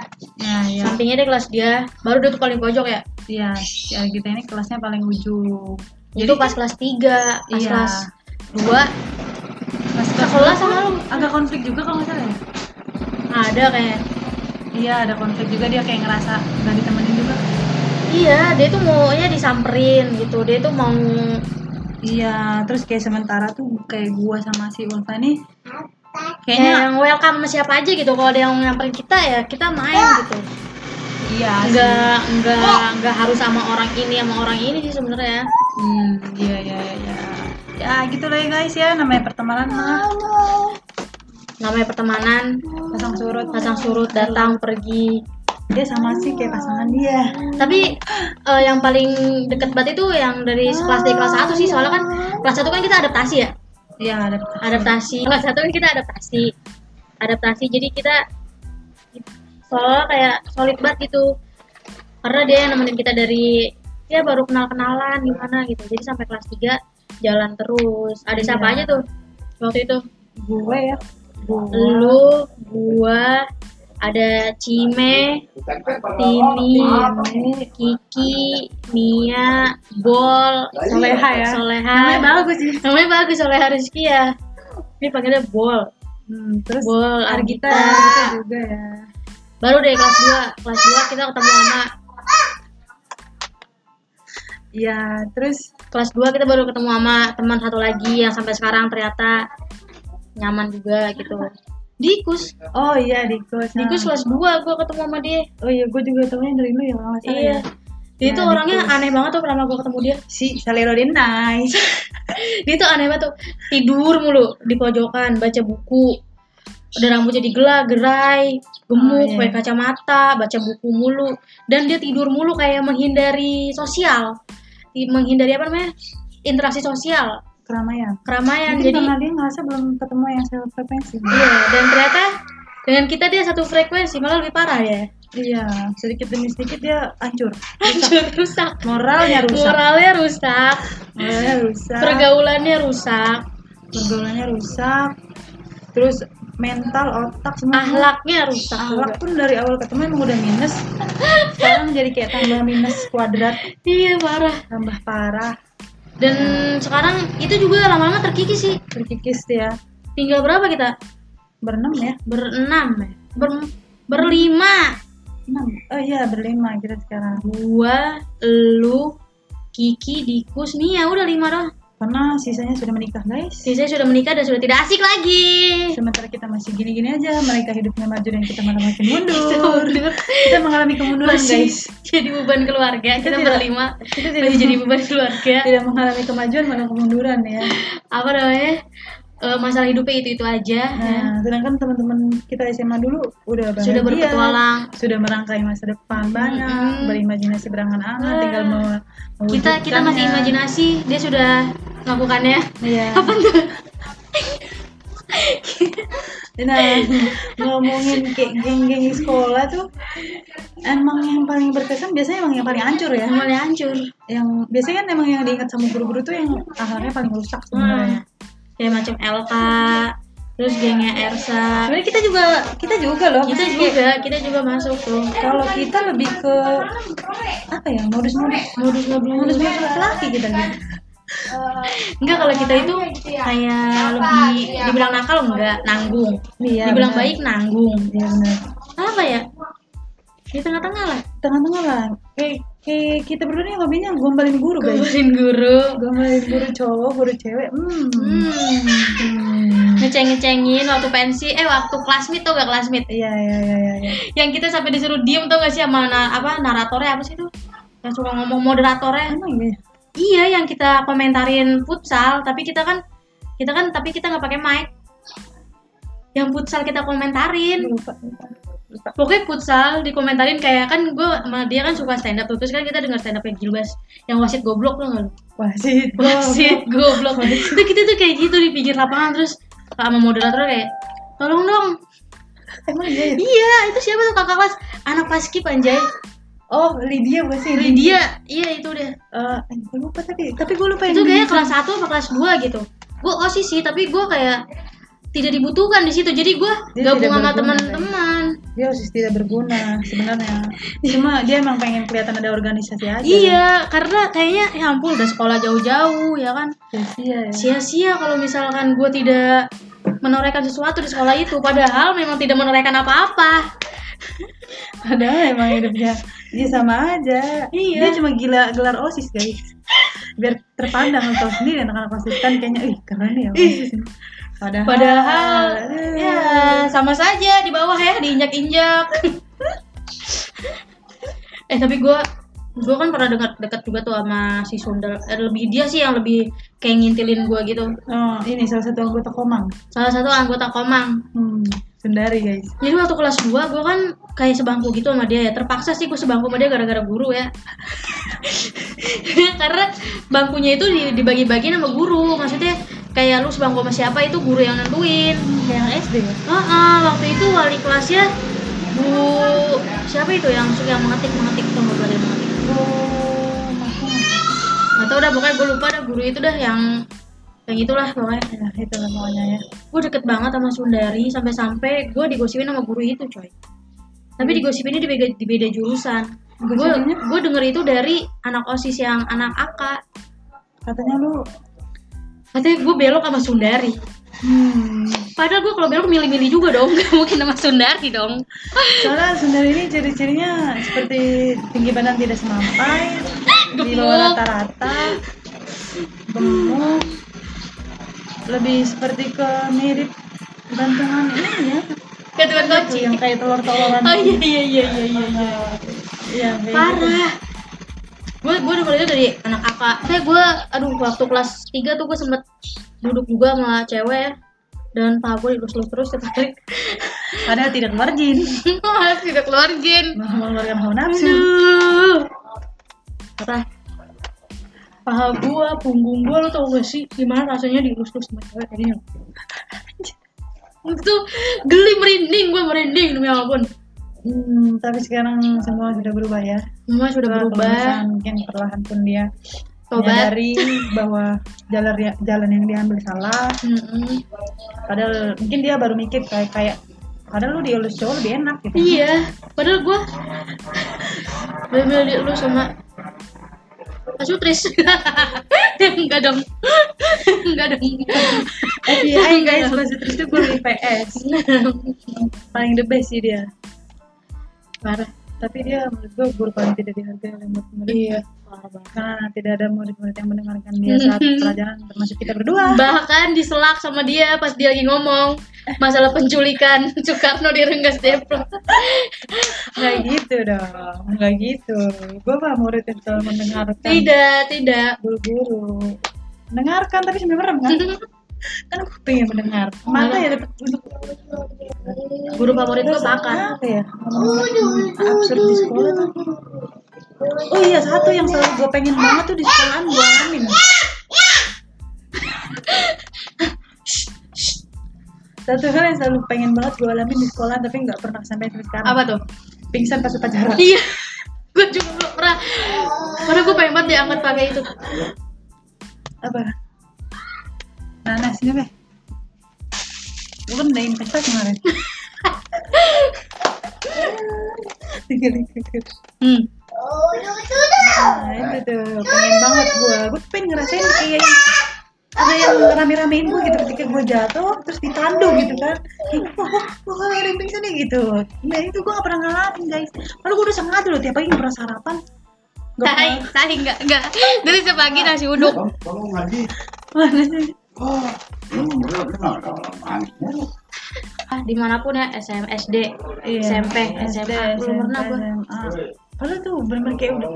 [SPEAKER 2] Nah,
[SPEAKER 1] Ya ya.
[SPEAKER 2] sampingnya dia kelas dia baru dia tuh paling pojok ya
[SPEAKER 1] Iya, si Algita ini kelasnya paling ujung.
[SPEAKER 2] itu pas kelas 3 pas
[SPEAKER 1] Iya.
[SPEAKER 2] kelas 2
[SPEAKER 1] kelas
[SPEAKER 2] sekolah sama lu
[SPEAKER 1] agak konflik juga kalau nggak salah ya.
[SPEAKER 2] ada kayak
[SPEAKER 1] Iya, ada konflik juga dia kayak ngerasa nggak ditemenin juga.
[SPEAKER 2] iya dia tuh maunya disamperin gitu dia tuh mau
[SPEAKER 1] Iya, terus kayak sementara tuh kayak gua sama si Ulfa nih
[SPEAKER 2] kayak
[SPEAKER 1] kayaknya
[SPEAKER 2] yang welcome sama siapa aja gitu kalau ada yang nyamperin kita ya kita main gitu
[SPEAKER 1] iya sih.
[SPEAKER 2] enggak enggak enggak harus sama orang ini sama orang ini sih sebenarnya
[SPEAKER 1] Hmm, iya iya iya. iya. Ya gitu lah ya guys ya namanya pertemanan mah
[SPEAKER 2] namanya pertemanan
[SPEAKER 1] pasang surut
[SPEAKER 2] pasang surut datang pergi
[SPEAKER 1] dia sama sih kayak pasangan dia
[SPEAKER 2] tapi eh, yang paling deket banget itu yang dari kelas dari kelas 1 sih soalnya kan kelas 1 kan kita adaptasi ya
[SPEAKER 1] iya ada
[SPEAKER 2] adaptasi kelas 1 kan kita adaptasi adaptasi jadi kita soalnya kayak solid banget gitu karena dia yang nemenin kita dari ya baru kenal kenalan gimana gitu jadi sampai kelas 3 jalan terus ada siapa
[SPEAKER 1] Iya.
[SPEAKER 2] aja tuh waktu itu
[SPEAKER 1] gue ya gue
[SPEAKER 2] lu gua ada Cime Tini Kiki Mia Bol
[SPEAKER 1] Soleha ya.
[SPEAKER 2] Soleha
[SPEAKER 1] namanya bagus sih
[SPEAKER 2] namanya bagus Soleha Rizky ya ini panggilnya Bol
[SPEAKER 1] Hmm, terus
[SPEAKER 2] Bol
[SPEAKER 1] Argita,
[SPEAKER 2] Argita
[SPEAKER 1] Argita juga ya.
[SPEAKER 2] baru deh kelas 2 kelas 2 kita ketemu sama
[SPEAKER 1] Iya, terus
[SPEAKER 2] kelas 2 kita baru ketemu sama teman satu lagi yang sampai sekarang ternyata nyaman juga gitu Dikus
[SPEAKER 1] oh iya Dikus.
[SPEAKER 2] Dikus kelas 2 gue ketemu sama dia
[SPEAKER 1] Oh iya, gue juga tahunya dari lu ya kalau nggak salah.
[SPEAKER 2] iya
[SPEAKER 1] ya.
[SPEAKER 2] dia
[SPEAKER 1] Nah,
[SPEAKER 2] tuh orangnya
[SPEAKER 1] Dikus.
[SPEAKER 2] aneh banget tuh pertama gue ketemu dia
[SPEAKER 1] Si Salero Denai.
[SPEAKER 2] dia tuh aneh banget tuh tidur mulu di pojokan baca buku udah rambutnya digelak gerai
[SPEAKER 1] Oh,
[SPEAKER 2] gemuk
[SPEAKER 1] iya.
[SPEAKER 2] pakai kacamata baca buku mulu dan dia tidur mulu kayak menghindari sosial Di- menghindari apa namanya interaksi sosial
[SPEAKER 1] keramaian.
[SPEAKER 2] keramaian
[SPEAKER 1] Mungkin
[SPEAKER 2] jadi
[SPEAKER 1] karena dia ngerasa belum ketemu yang self frekuensi.
[SPEAKER 2] iya dan ternyata dengan kita dia satu frekuensi malah lebih parah ya
[SPEAKER 1] Iya, sedikit demi sedikit dia hancur.
[SPEAKER 2] hancur rusak
[SPEAKER 1] Moralnya rusak.
[SPEAKER 2] moralnya rusak
[SPEAKER 1] Moralnya rusak.
[SPEAKER 2] pergaulannya rusak
[SPEAKER 1] pergaulannya rusak. Terus mental, otak semua.
[SPEAKER 2] ahlaknya rusak
[SPEAKER 1] Hmm. Ahlak
[SPEAKER 2] juga.
[SPEAKER 1] pun dari awal ketemu emang udah minus. Sekarang jadi kayak tambah minus kuadrat,
[SPEAKER 2] iya parah
[SPEAKER 1] tambah parah,
[SPEAKER 2] dan sekarang itu juga lama-lama terkikis sih
[SPEAKER 1] terkikis ya.
[SPEAKER 2] tinggal berapa kita
[SPEAKER 1] Berenam ya?
[SPEAKER 2] berenam ya? Ber, berlima
[SPEAKER 1] Enam. Oh iya, berlima kita sekarang.
[SPEAKER 2] gua lu Kiki Dikus Nia udah lima doang
[SPEAKER 1] Karena sisanya sudah menikah, guys.
[SPEAKER 2] sisanya sudah menikah dan sudah tidak asik lagi
[SPEAKER 1] Sementara kita masih gini-gini aja, mereka hidupnya maju dan kita malah makin mundur.
[SPEAKER 2] Mundur.
[SPEAKER 1] kita mengalami kemunduran,
[SPEAKER 2] masih
[SPEAKER 1] guys.
[SPEAKER 2] jadi beban keluarga kita,
[SPEAKER 1] tidak-
[SPEAKER 2] berlima
[SPEAKER 1] Kita tidak,
[SPEAKER 2] masih jadi beban keluarga
[SPEAKER 1] tidak mengalami kemajuan, malah kemunduran ya.
[SPEAKER 2] apa namanya Eh, masalah hidupnya itu itu aja ya.
[SPEAKER 1] Nah, sedangkan teman-teman kita SMA dulu udah bahagia,
[SPEAKER 2] Sudah berpetualang.
[SPEAKER 1] sudah merangkai masa depan banyak,
[SPEAKER 2] Mm-mm.
[SPEAKER 1] berimajinasi berangan-angan,
[SPEAKER 2] Ah.
[SPEAKER 1] tinggal mau
[SPEAKER 2] kita kita masih imajinasi dia sudah melakukannya
[SPEAKER 1] Iya.
[SPEAKER 2] apa tuh
[SPEAKER 1] Nah, ngomongin kayak geng-geng di sekolah tuh emang yang paling berkesan biasanya emang yang paling hancur ya.
[SPEAKER 2] mulai hancur
[SPEAKER 1] yang biasanya kan emang yang diingat sama guru-guru tuh yang akhirnya paling rusak
[SPEAKER 2] Hmm.
[SPEAKER 1] sebenarnya.
[SPEAKER 2] Nah, kayak macam LK terus gengnya Ersa
[SPEAKER 1] Sebenarnya kita juga kita juga loh.
[SPEAKER 2] kita
[SPEAKER 1] maksudnya kayak
[SPEAKER 2] juga kita juga masuk tuh
[SPEAKER 1] kalau kita lebih ke apa ya modus-modus modus-modus modus-modus laki-laki kita gitu.
[SPEAKER 2] enggak kalau kita itu
[SPEAKER 1] ya?
[SPEAKER 2] kayak lebih dibilang nakal enggak nanggung
[SPEAKER 1] gitu Iya,
[SPEAKER 2] dibilang
[SPEAKER 1] benar.
[SPEAKER 2] baik nanggung
[SPEAKER 1] Iya benar.
[SPEAKER 2] apa ya di tengah-tengah lah
[SPEAKER 1] Tengah-tengah lah. Kayak kayak kita berdua nih hobinya gombalin guru guys.
[SPEAKER 2] gombalin guru
[SPEAKER 1] Gombalin guru cowok, guru cewek. Hmm.
[SPEAKER 2] hmm. ngeceng-ngecengin waktu pensi eh waktu klasmit tuh gak klasmit
[SPEAKER 1] Iya iya iya iya. iya.
[SPEAKER 2] yang kita sampai disuruh diem tau gak sih sama na- apa naratornya apa sih itu yang suka ngomong moderatornya
[SPEAKER 1] Emang ya.
[SPEAKER 2] Iya yang kita komentarin futsal, tapi kita kan kita kan tapi kita nggak pakai mic. Yang futsal kita komentarin.
[SPEAKER 1] Lupa. lupa. Lupa.
[SPEAKER 2] Pokoknya futsal dikomentarin kayak kan gue sama dia kan suka stand up tuh. terus kan kita denger stand upnya Gilbas yang wasit goblok lo nggak lu?
[SPEAKER 1] Wah sih.
[SPEAKER 2] Wasit goblok. Itu kita tuh kayak gitu di pinggir lapangan terus sama moderator kayak tolong dong.
[SPEAKER 1] Emang iya. ya?
[SPEAKER 2] Iya itu siapa tuh kakak kelas? Anak paskip anjay.
[SPEAKER 1] Oh Lydia gue sih.
[SPEAKER 2] Lydia. Iya itu dia.
[SPEAKER 1] Eh, gue lupa tapi tapi gue lupa
[SPEAKER 2] itu
[SPEAKER 1] yang
[SPEAKER 2] kayak kelas 1 apa kelas 2 gitu gue osis sih tapi gue kayak tidak dibutuhkan di situ jadi gue
[SPEAKER 1] Dia
[SPEAKER 2] gabung
[SPEAKER 1] tidak berguna,
[SPEAKER 2] sama
[SPEAKER 1] ya?
[SPEAKER 2] teman-teman
[SPEAKER 1] dia osis tidak berguna sebenarnya cuma dia emang pengen kelihatan ada organisasi aja
[SPEAKER 2] iya karena kayaknya ya ampun udah sekolah jauh-jauh ya kan
[SPEAKER 1] sia ya
[SPEAKER 2] sia-sia kalau misalkan gue tidak menorehkan sesuatu di sekolah itu padahal memang tidak menorehkan apa-apa
[SPEAKER 1] padahal emang hidupnya dia sama aja
[SPEAKER 2] Iya.
[SPEAKER 1] dia cuma gila gelar osis guys biar terpandang untuk sendiri dan anak-anak osis kan kayaknya ih keren ya osis padahal
[SPEAKER 2] padahal
[SPEAKER 1] eh,
[SPEAKER 2] ya sama saja di bawah ya diinjak-injak eh tapi gue gue kan pernah dengar dekat juga tuh sama si Sundel eh, lebih dia sih yang lebih kayak ngintilin gue gitu
[SPEAKER 1] oh, ini salah satu anggota komang
[SPEAKER 2] salah satu anggota komang
[SPEAKER 1] hmm, sundari guys
[SPEAKER 2] jadi waktu kelas 2 gue kan kayak sebangku gitu sama dia ya terpaksa sih gue sebangku sama dia gara-gara guru ya karena bangkunya itu di- dibagi-bagi sama guru maksudnya kayak lu sebangku sama siapa itu guru yang nentuin
[SPEAKER 1] yang SD ya
[SPEAKER 2] Ah, ah, waktu itu wali kelasnya Bu siapa itu yang suka yang mengetik mengetik tuh nggak belajar mengetik.
[SPEAKER 1] oh makanya
[SPEAKER 2] Atau udah pokoknya gue lupa dah guru itu dah yang yang itulah pokoknya.
[SPEAKER 1] ya itu lah pokoknya ya
[SPEAKER 2] Gue deket banget sama Sundari sampai-sampai gue digosipin sama guru itu coy. Tapi digosipinnya di beda, di beda jurusan. Gue
[SPEAKER 1] Gosipinnya?
[SPEAKER 2] gue denger itu dari anak osis yang anak AK.
[SPEAKER 1] katanya lu
[SPEAKER 2] Katanya gue belok sama Sundari.
[SPEAKER 1] hmm,
[SPEAKER 2] Padahal gue kalau belok milih-milih juga dong, gak mungkin sama Sundari dong.
[SPEAKER 1] Soalnya sundari ini ciri-cirinya seperti tinggi badan tidak semampai, di bawah
[SPEAKER 2] Gemuk.
[SPEAKER 1] rata-rata gemuk lebih seperti ke mirip gantungan ini ya
[SPEAKER 2] Ketua
[SPEAKER 1] itu
[SPEAKER 2] koci.
[SPEAKER 1] yang kayak telur-teloran
[SPEAKER 2] Oh iya iya iya iya iya.
[SPEAKER 1] iya kayak gitu.
[SPEAKER 2] Parah. Gue gue denger itu dari anak kakak. Kayak gue aduh waktu kelas 3 tuh gue sempet duduk juga sama cewek ya. dan paha gue dilus terus setiap hari
[SPEAKER 1] padahal tidak margin
[SPEAKER 2] gue harus tidak keluar gen
[SPEAKER 1] mengeluarkan hawa nafsu
[SPEAKER 2] aduh parah
[SPEAKER 3] paha gua, punggung gua lo tau gak sih gimana rasanya dilus-lus sama cewek ini
[SPEAKER 2] itu geli merinding gue merinding demi apapun
[SPEAKER 1] Hmm, tapi sekarang semua sudah berubah ya
[SPEAKER 2] semua sudah
[SPEAKER 1] Setelah
[SPEAKER 2] berubah
[SPEAKER 1] kelulusan, mungkin perlahan pun dia
[SPEAKER 2] tobat
[SPEAKER 1] menyadari bahwa jalan jalan yang diambil salah
[SPEAKER 2] Mm-mm.
[SPEAKER 1] padahal mungkin dia baru mikir kayak kayak padahal lu dielus cowok lebih enak gitu
[SPEAKER 2] iya padahal gue bener-bener di lu sama pasutris enggak dong enggak dong
[SPEAKER 1] FBI guys bahasa itu gue di PS paling the best sih dia
[SPEAKER 2] parah
[SPEAKER 1] tapi dia menurut gue burukan tidak dihargai oleh murid-murid
[SPEAKER 2] iya
[SPEAKER 1] karena tidak ada murid-murid yang mendengarkan dia saat pelajaran termasuk kita berdua
[SPEAKER 2] bahkan diselak sama dia pas dia lagi ngomong masalah penculikan Soekarno di Renggas Depok
[SPEAKER 1] nggak gitu dong nggak gitu gue mah murid yang selalu mendengarkan
[SPEAKER 2] tidak tidak
[SPEAKER 1] buru-buru mendengarkan tapi sambil merem kan kan gue pengen mendengar mana ya dapat untuk
[SPEAKER 2] guru favorit gue bakar
[SPEAKER 1] apa ya ngomong absurd di sekolah tuh oh iya satu yang selalu gue pengen banget tuh di sekolahan gue alamin satu hal yang selalu pengen banget gue alamin di sekolah tapi nggak pernah sampai sampai sekarang
[SPEAKER 2] apa tuh
[SPEAKER 1] pingsan pas upacara
[SPEAKER 2] iya gue juga belum pernah karena gue pengen banget diangkat pakai itu
[SPEAKER 1] apa Nah, nanas ini be gue kan udah investasi kemarin tiga tiga
[SPEAKER 2] hmm.
[SPEAKER 1] Nah, itu tuh pengen banget gue gue pengen ngerasain kayak yang- ada yang rame-ramein gue gitu ketika gue jatuh terus ditandu gitu kan kayak wah wah wah ada yang pingsan nih gitu nah itu gue gak pernah ngalamin guys lalu gue udah sengaja loh tiap pagi gak pernah sarapan gak
[SPEAKER 2] tai tai enggak enggak dari sepagi nasi uduk
[SPEAKER 4] Kamu kamu ngaji?
[SPEAKER 1] pernah Mana sih?
[SPEAKER 4] Oh, lu belum kenal kalau manisnya lu.
[SPEAKER 2] ah dimanapun ya SMSD
[SPEAKER 1] Iya,
[SPEAKER 2] SMP
[SPEAKER 1] SD,
[SPEAKER 2] SMA belum pernah
[SPEAKER 1] SMP,
[SPEAKER 2] gue
[SPEAKER 1] SMA. Padahal tuh bener-bener kayak udah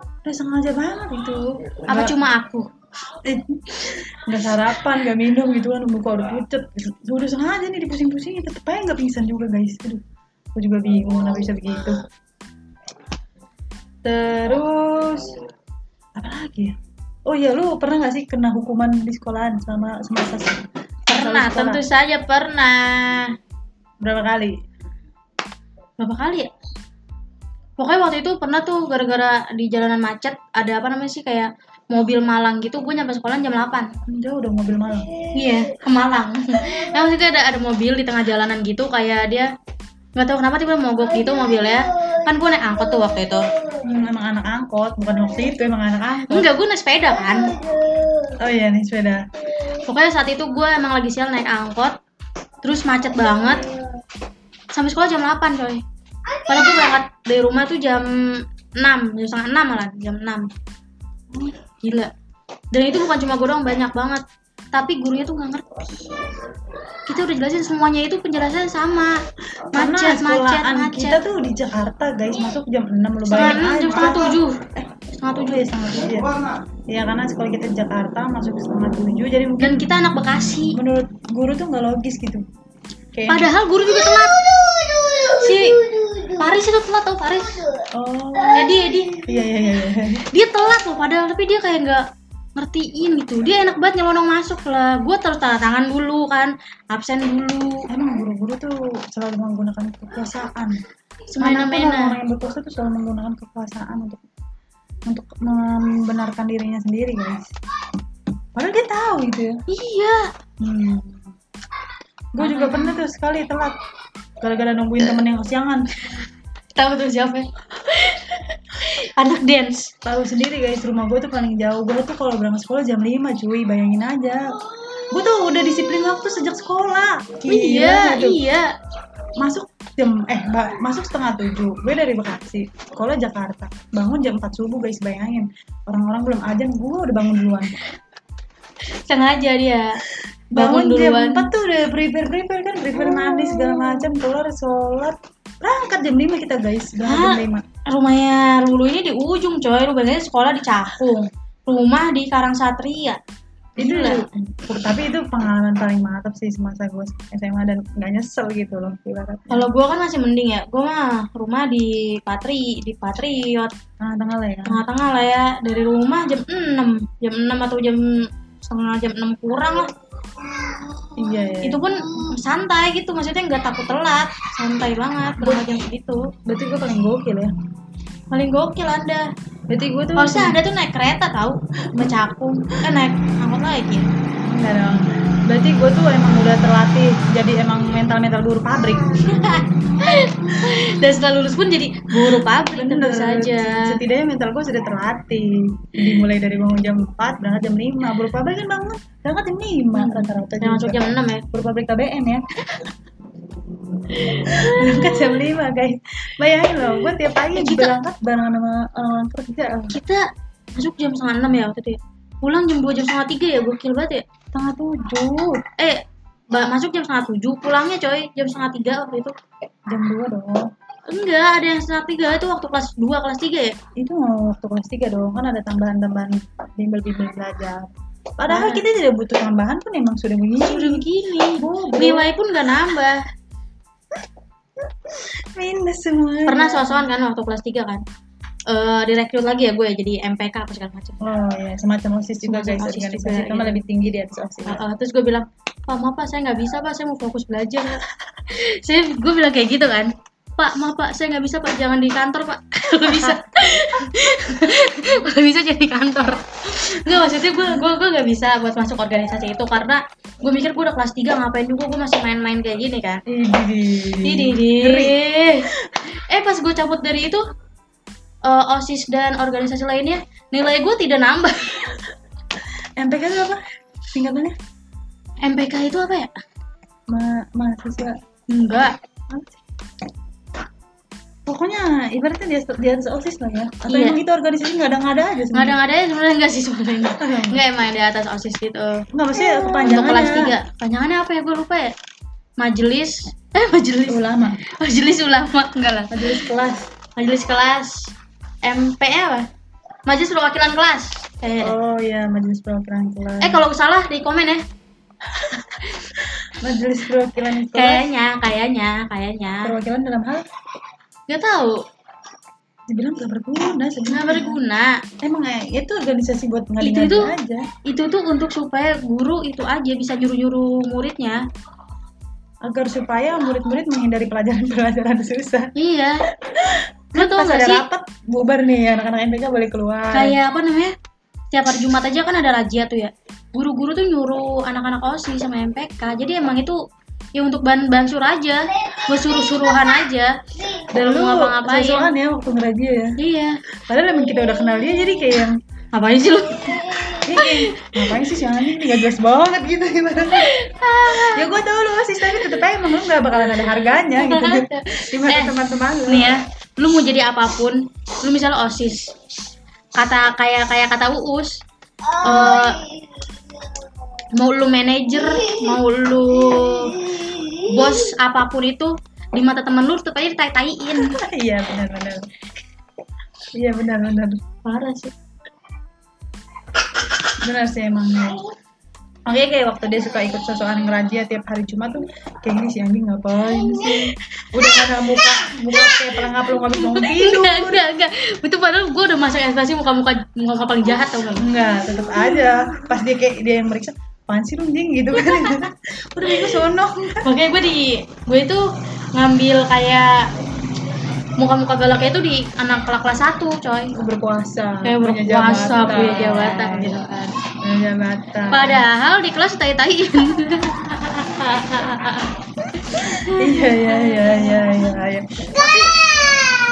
[SPEAKER 1] udah sengaja banget gitu.
[SPEAKER 2] apa cuma aku
[SPEAKER 1] Nggak sarapan, nggak minum gitu kan, muka udah pucet. Gitu. Udah sengaja nih dipusing-pusingin, tetep aja nggak pingsan juga guys. Aduh, aku juga bingung kenapa bisa begitu. Terus apa lagi ya? Oh iya, lu pernah nggak sih kena hukuman di sekolahan sama semasa sekolah?
[SPEAKER 2] pernah tentu saja pernah
[SPEAKER 1] berapa kali?
[SPEAKER 2] berapa kali ya? Pokoknya waktu itu pernah tuh gara-gara di jalanan macet ada apa namanya sih kayak mobil Malang gitu gue nyampe sekolah jam 8
[SPEAKER 1] Jauh udah mobil malam.
[SPEAKER 2] iya ke Malang nah waktu itu ada ada mobil di tengah jalanan gitu kayak dia nggak tahu kenapa tiba mogok gitu mobilnya kan gue naik angkot tuh waktu itu
[SPEAKER 1] Hmm, emang anak angkot, bukan waktu itu emang anak angkot.
[SPEAKER 2] enggak gue naik sepeda kan
[SPEAKER 1] Oh iya nih sepeda.
[SPEAKER 2] pokoknya saat itu gue emang lagi sial naik angkot terus macet banget sampai sekolah jam 8 coy padahal gue berangkat dari rumah tuh jam 6 jam setengah 6 malah jam 6 gila dan itu bukan cuma gue doang banyak banget tapi gurunya tuh nggak ngerti kita udah jelasin semuanya itu penjelasannya sama
[SPEAKER 1] Karena
[SPEAKER 2] macet macet
[SPEAKER 1] sekolahan
[SPEAKER 2] macet
[SPEAKER 1] kita tuh di Jakarta guys masuk jam 6 lu
[SPEAKER 2] setengah
[SPEAKER 1] bayangin
[SPEAKER 2] enam
[SPEAKER 1] aja.
[SPEAKER 2] jam setengah tujuh setengah tujuh
[SPEAKER 1] Iya, setengah tujuh ya. Iya, karena sekolah kita di Jakarta masuk setengah tujuh jadi mungkin
[SPEAKER 2] dan kita anak Bekasi
[SPEAKER 1] menurut guru tuh nggak logis gitu. Kayak
[SPEAKER 2] Padahal guru juga telat. Si Paris itu telat tau Paris.
[SPEAKER 1] oh
[SPEAKER 2] Jadi jadi
[SPEAKER 1] iya iya iya. iya.
[SPEAKER 2] dia telat loh padahal tapi dia kayak nggak ngertiin gitu. Dia enak banget nyelonong masuk lah. Gue terus tanda tangan dulu kan, absen dulu.
[SPEAKER 1] Emang guru-guru tuh selalu menggunakan kekuasaan. Anak tuh
[SPEAKER 2] Semena-mena.
[SPEAKER 1] orang yang berkuasa tuh selalu menggunakan kekuasaan untuk untuk membenarkan dirinya sendiri guys. Padahal dia tahu gitu ya.
[SPEAKER 2] Iya.
[SPEAKER 1] Hmm. Gue juga pernah tuh sekali telat gara-gara nungguin temen yang kesiangan.
[SPEAKER 2] Tahu tuh siapa? Anak dance.
[SPEAKER 1] Tahu sendiri guys, rumah gue tuh paling jauh. Gue tuh kalau berangkat sekolah jam 5 cuy, bayangin aja. Gue tuh udah disiplin waktu sejak sekolah.
[SPEAKER 2] iya,
[SPEAKER 1] gitu.
[SPEAKER 2] iya.
[SPEAKER 1] Masuk jam eh ba- masuk setengah tujuh gue dari Bekasi sekolah Jakarta bangun jam 4 subuh guys bayangin orang-orang belum ajan gue udah bangun duluan
[SPEAKER 2] sengaja dia
[SPEAKER 1] bangun,
[SPEAKER 2] bangun duluan Oh.
[SPEAKER 1] jam 4 tuh udah prepare prepare kan prepare mandi segala macam keluar sholat berangkat jam 5 kita guys berangkat
[SPEAKER 2] Hah?
[SPEAKER 1] jam
[SPEAKER 2] rumahnya Rulu ini di ujung coy lu bayangin sekolah di Cakung rumah di Karang Satria
[SPEAKER 1] 5 itu
[SPEAKER 2] Gila.
[SPEAKER 1] tapi itu pengalaman paling mantap sih semasa gue SMA dan nggak nyesel gitu loh ibaratnya
[SPEAKER 2] kalau gua kan masih mending ya gua mah rumah di Patri di Patriot
[SPEAKER 1] tengah-tengah lah ya
[SPEAKER 2] tengah-tengah lah ya dari rumah jam 6 jam 6 atau jam setengah jam 6 kurang lah
[SPEAKER 1] iya ya
[SPEAKER 2] itu pun santai gitu maksudnya nggak takut telat santai banget berangkat jam segitu
[SPEAKER 1] berarti gue paling gokil ya
[SPEAKER 2] paling gokil anda
[SPEAKER 1] berarti gue tuh
[SPEAKER 2] harusnya anda tuh naik kereta tau ke Cakung eh naik ya. angkot lagi
[SPEAKER 1] Enggak dong. Berarti gue tuh emang udah terlatih jadi emang mental-mental guru pabrik.
[SPEAKER 2] dan setelah lulus pun jadi guru pabrik tentu saja
[SPEAKER 1] Setidaknya mental gue sudah terlatih. Dimulai dari bangun jam 4, berangkat jam 5. Guru pabrik kan bangun berangkat jam
[SPEAKER 2] Hmm.
[SPEAKER 1] 5 rata-rata
[SPEAKER 2] dan masuk jam 6 ya
[SPEAKER 1] Guru pabrik KBN ya. berangkat jam 5 guys. Bayangin loh, gue tiap pagi
[SPEAKER 2] Eh,
[SPEAKER 1] berangkat bareng sama eh, orang kerja.
[SPEAKER 2] kita masuk jam setengah 6 ya waktu itu ya pulang jam 2 jam setengah 3 ya gokil banget ya
[SPEAKER 1] Setengah tujuh,
[SPEAKER 2] eh ba- masuk jam setengah 7 pulangnya coy jam setengah 3 waktu itu
[SPEAKER 1] jam 2 dong.
[SPEAKER 2] enggak ada yang setengah 3 itu waktu kelas 2 kelas 3 ya
[SPEAKER 1] itu waktu kelas 3 dong kan ada tambahan-tambahan bimbel-bimbel belajar padahal
[SPEAKER 2] Nah.
[SPEAKER 1] kita tidak butuh tambahan pun emang sudah begini
[SPEAKER 2] udah begini
[SPEAKER 1] Bodoh.
[SPEAKER 2] nilai Oh, pun gak nambah
[SPEAKER 1] minus semua
[SPEAKER 2] pernah sosokan kan waktu kelas 3 kan Eh direkrut lagi ya gue jadi MPK apa segala macam
[SPEAKER 1] oh ya semacam osis juga
[SPEAKER 2] Semacam
[SPEAKER 1] guys
[SPEAKER 2] OSIS
[SPEAKER 1] organisasi
[SPEAKER 2] juga,
[SPEAKER 1] itu malah
[SPEAKER 2] iya.
[SPEAKER 1] lebih tinggi di atas osis
[SPEAKER 2] Eh, eh, terus gue bilang pak maaf pak saya nggak bisa pak saya mau fokus belajar Pak." saya gue bilang kayak gitu kan pak maaf pak saya nggak bisa pak jangan di kantor pak nggak bisa nggak bisa jadi kantor nggak maksudnya gue gue gue nggak bisa buat masuk organisasi itu karena gue mikir gue udah kelas 3 ngapain juga gue masih main-main kayak gini kan Didi. Eh pas gue cabut dari itu eh, OSIS dan organisasi lainnya nilai gue tidak nambah.
[SPEAKER 1] MPK itu apa singkatannya
[SPEAKER 2] MPK itu apa ya?
[SPEAKER 1] Ma mahasiswa
[SPEAKER 2] Enggak.
[SPEAKER 1] pokoknya ibaratnya di atas, di atas osis lah ya atau
[SPEAKER 2] Iya.
[SPEAKER 1] emang itu organisasi nggak ada nggak ada aja
[SPEAKER 2] Nggak ada
[SPEAKER 1] sebenarnya
[SPEAKER 2] nggak ada ya, sebenarnya enggak sih sebenarnya. Enggak emang di atas OSIS gitu.
[SPEAKER 1] nggak maksudnya
[SPEAKER 2] Untuk
[SPEAKER 1] kepanjangan
[SPEAKER 2] kelas 3. Panjangannya apa ya? Gue lupa ya. Majelis. Eh majelis.
[SPEAKER 1] ulama
[SPEAKER 2] Majelis ulama enggak lah.
[SPEAKER 1] majelis kelas
[SPEAKER 2] Majelis kelas MP apa? Majelis perwakilan kelas. Kayaknya.
[SPEAKER 1] oh iya majelis perwakilan kelas
[SPEAKER 2] Eh kalau salah di komen ya.
[SPEAKER 1] majelis perwakilan kelas
[SPEAKER 2] Kayaknya, kayaknya, kayaknya.
[SPEAKER 1] perwakilan dalam hal
[SPEAKER 2] Gak tahu.
[SPEAKER 1] dibilang gak berguna sebenarnya
[SPEAKER 2] nggak berguna
[SPEAKER 1] emang eh, itu organisasi buat
[SPEAKER 2] Itu
[SPEAKER 1] ngadi-ngadi
[SPEAKER 2] tuh-
[SPEAKER 1] aja
[SPEAKER 2] itu tuh untuk supaya guru itu aja bisa nyuruh-nyuruh muridnya
[SPEAKER 1] agar supaya murid-murid menghindari pelajaran-pelajaran susah
[SPEAKER 2] iya lo
[SPEAKER 1] pas
[SPEAKER 2] tau gak
[SPEAKER 1] ada
[SPEAKER 2] sih
[SPEAKER 1] rapat bubar nih anak-anak MPK boleh keluar
[SPEAKER 2] kayak apa namanya tiap hari Jumat aja kan ada razia tuh ya guru-guru tuh nyuruh anak-anak OSIS sama MPK jadi emang itu ya untuk bahan bansur aja buat suruh-suruhan aja
[SPEAKER 1] dan
[SPEAKER 2] dan
[SPEAKER 1] lu
[SPEAKER 2] mau ngapa-ngapain
[SPEAKER 1] sosokan ya waktu ngerajia ya
[SPEAKER 2] iya
[SPEAKER 1] padahal emang kita udah kenal dia jadi kayak yang
[SPEAKER 2] ngapain sih lu
[SPEAKER 1] ini kayak ngapain sih si Ani ini gak jelas banget gitu ibaratnya. ya gue tau lu sih tapi tetep aja emang lu gak bakalan ada harganya gitu di mata
[SPEAKER 2] Eh,
[SPEAKER 1] teman-teman lu
[SPEAKER 2] nih ya lu mau jadi apapun lu misalnya osis kata kayak kayak kata uus eh, mau lu manajer mau lu bos apapun itu di mata temen lu tetap aja ditai-taiin
[SPEAKER 1] iya benar-benar iya benar-benar
[SPEAKER 2] parah sih
[SPEAKER 1] benar sih emangnya Makanya kayak waktu dia suka ikut sosokan ngerajia tiap hari Jumat tuh kayak gini sih anjing ngapain sih udah kagak muka muka kayak pelengkap lu habis mau tidur
[SPEAKER 2] enggak enggak enggak itu padahal gue udah masuk ekspektasi muka-muka muka-muka paling jahat tau gak lu?
[SPEAKER 1] enggak tetep aja pas dia kayak dia yang meriksa apaan sih lu anjing gitu kan udah minggu sono
[SPEAKER 2] makanya gue di gue itu ngambil kayak muka-muka galaknya itu di anak kelas 1 coy
[SPEAKER 1] Aku berkuasa
[SPEAKER 2] kayak
[SPEAKER 1] punya
[SPEAKER 2] berpuasa
[SPEAKER 1] jabatan. Iya,
[SPEAKER 2] punya jabatan gitu kan
[SPEAKER 1] punya jabatan
[SPEAKER 2] padahal di kelas tai tai
[SPEAKER 1] iya iya iya iya iya iya. tapi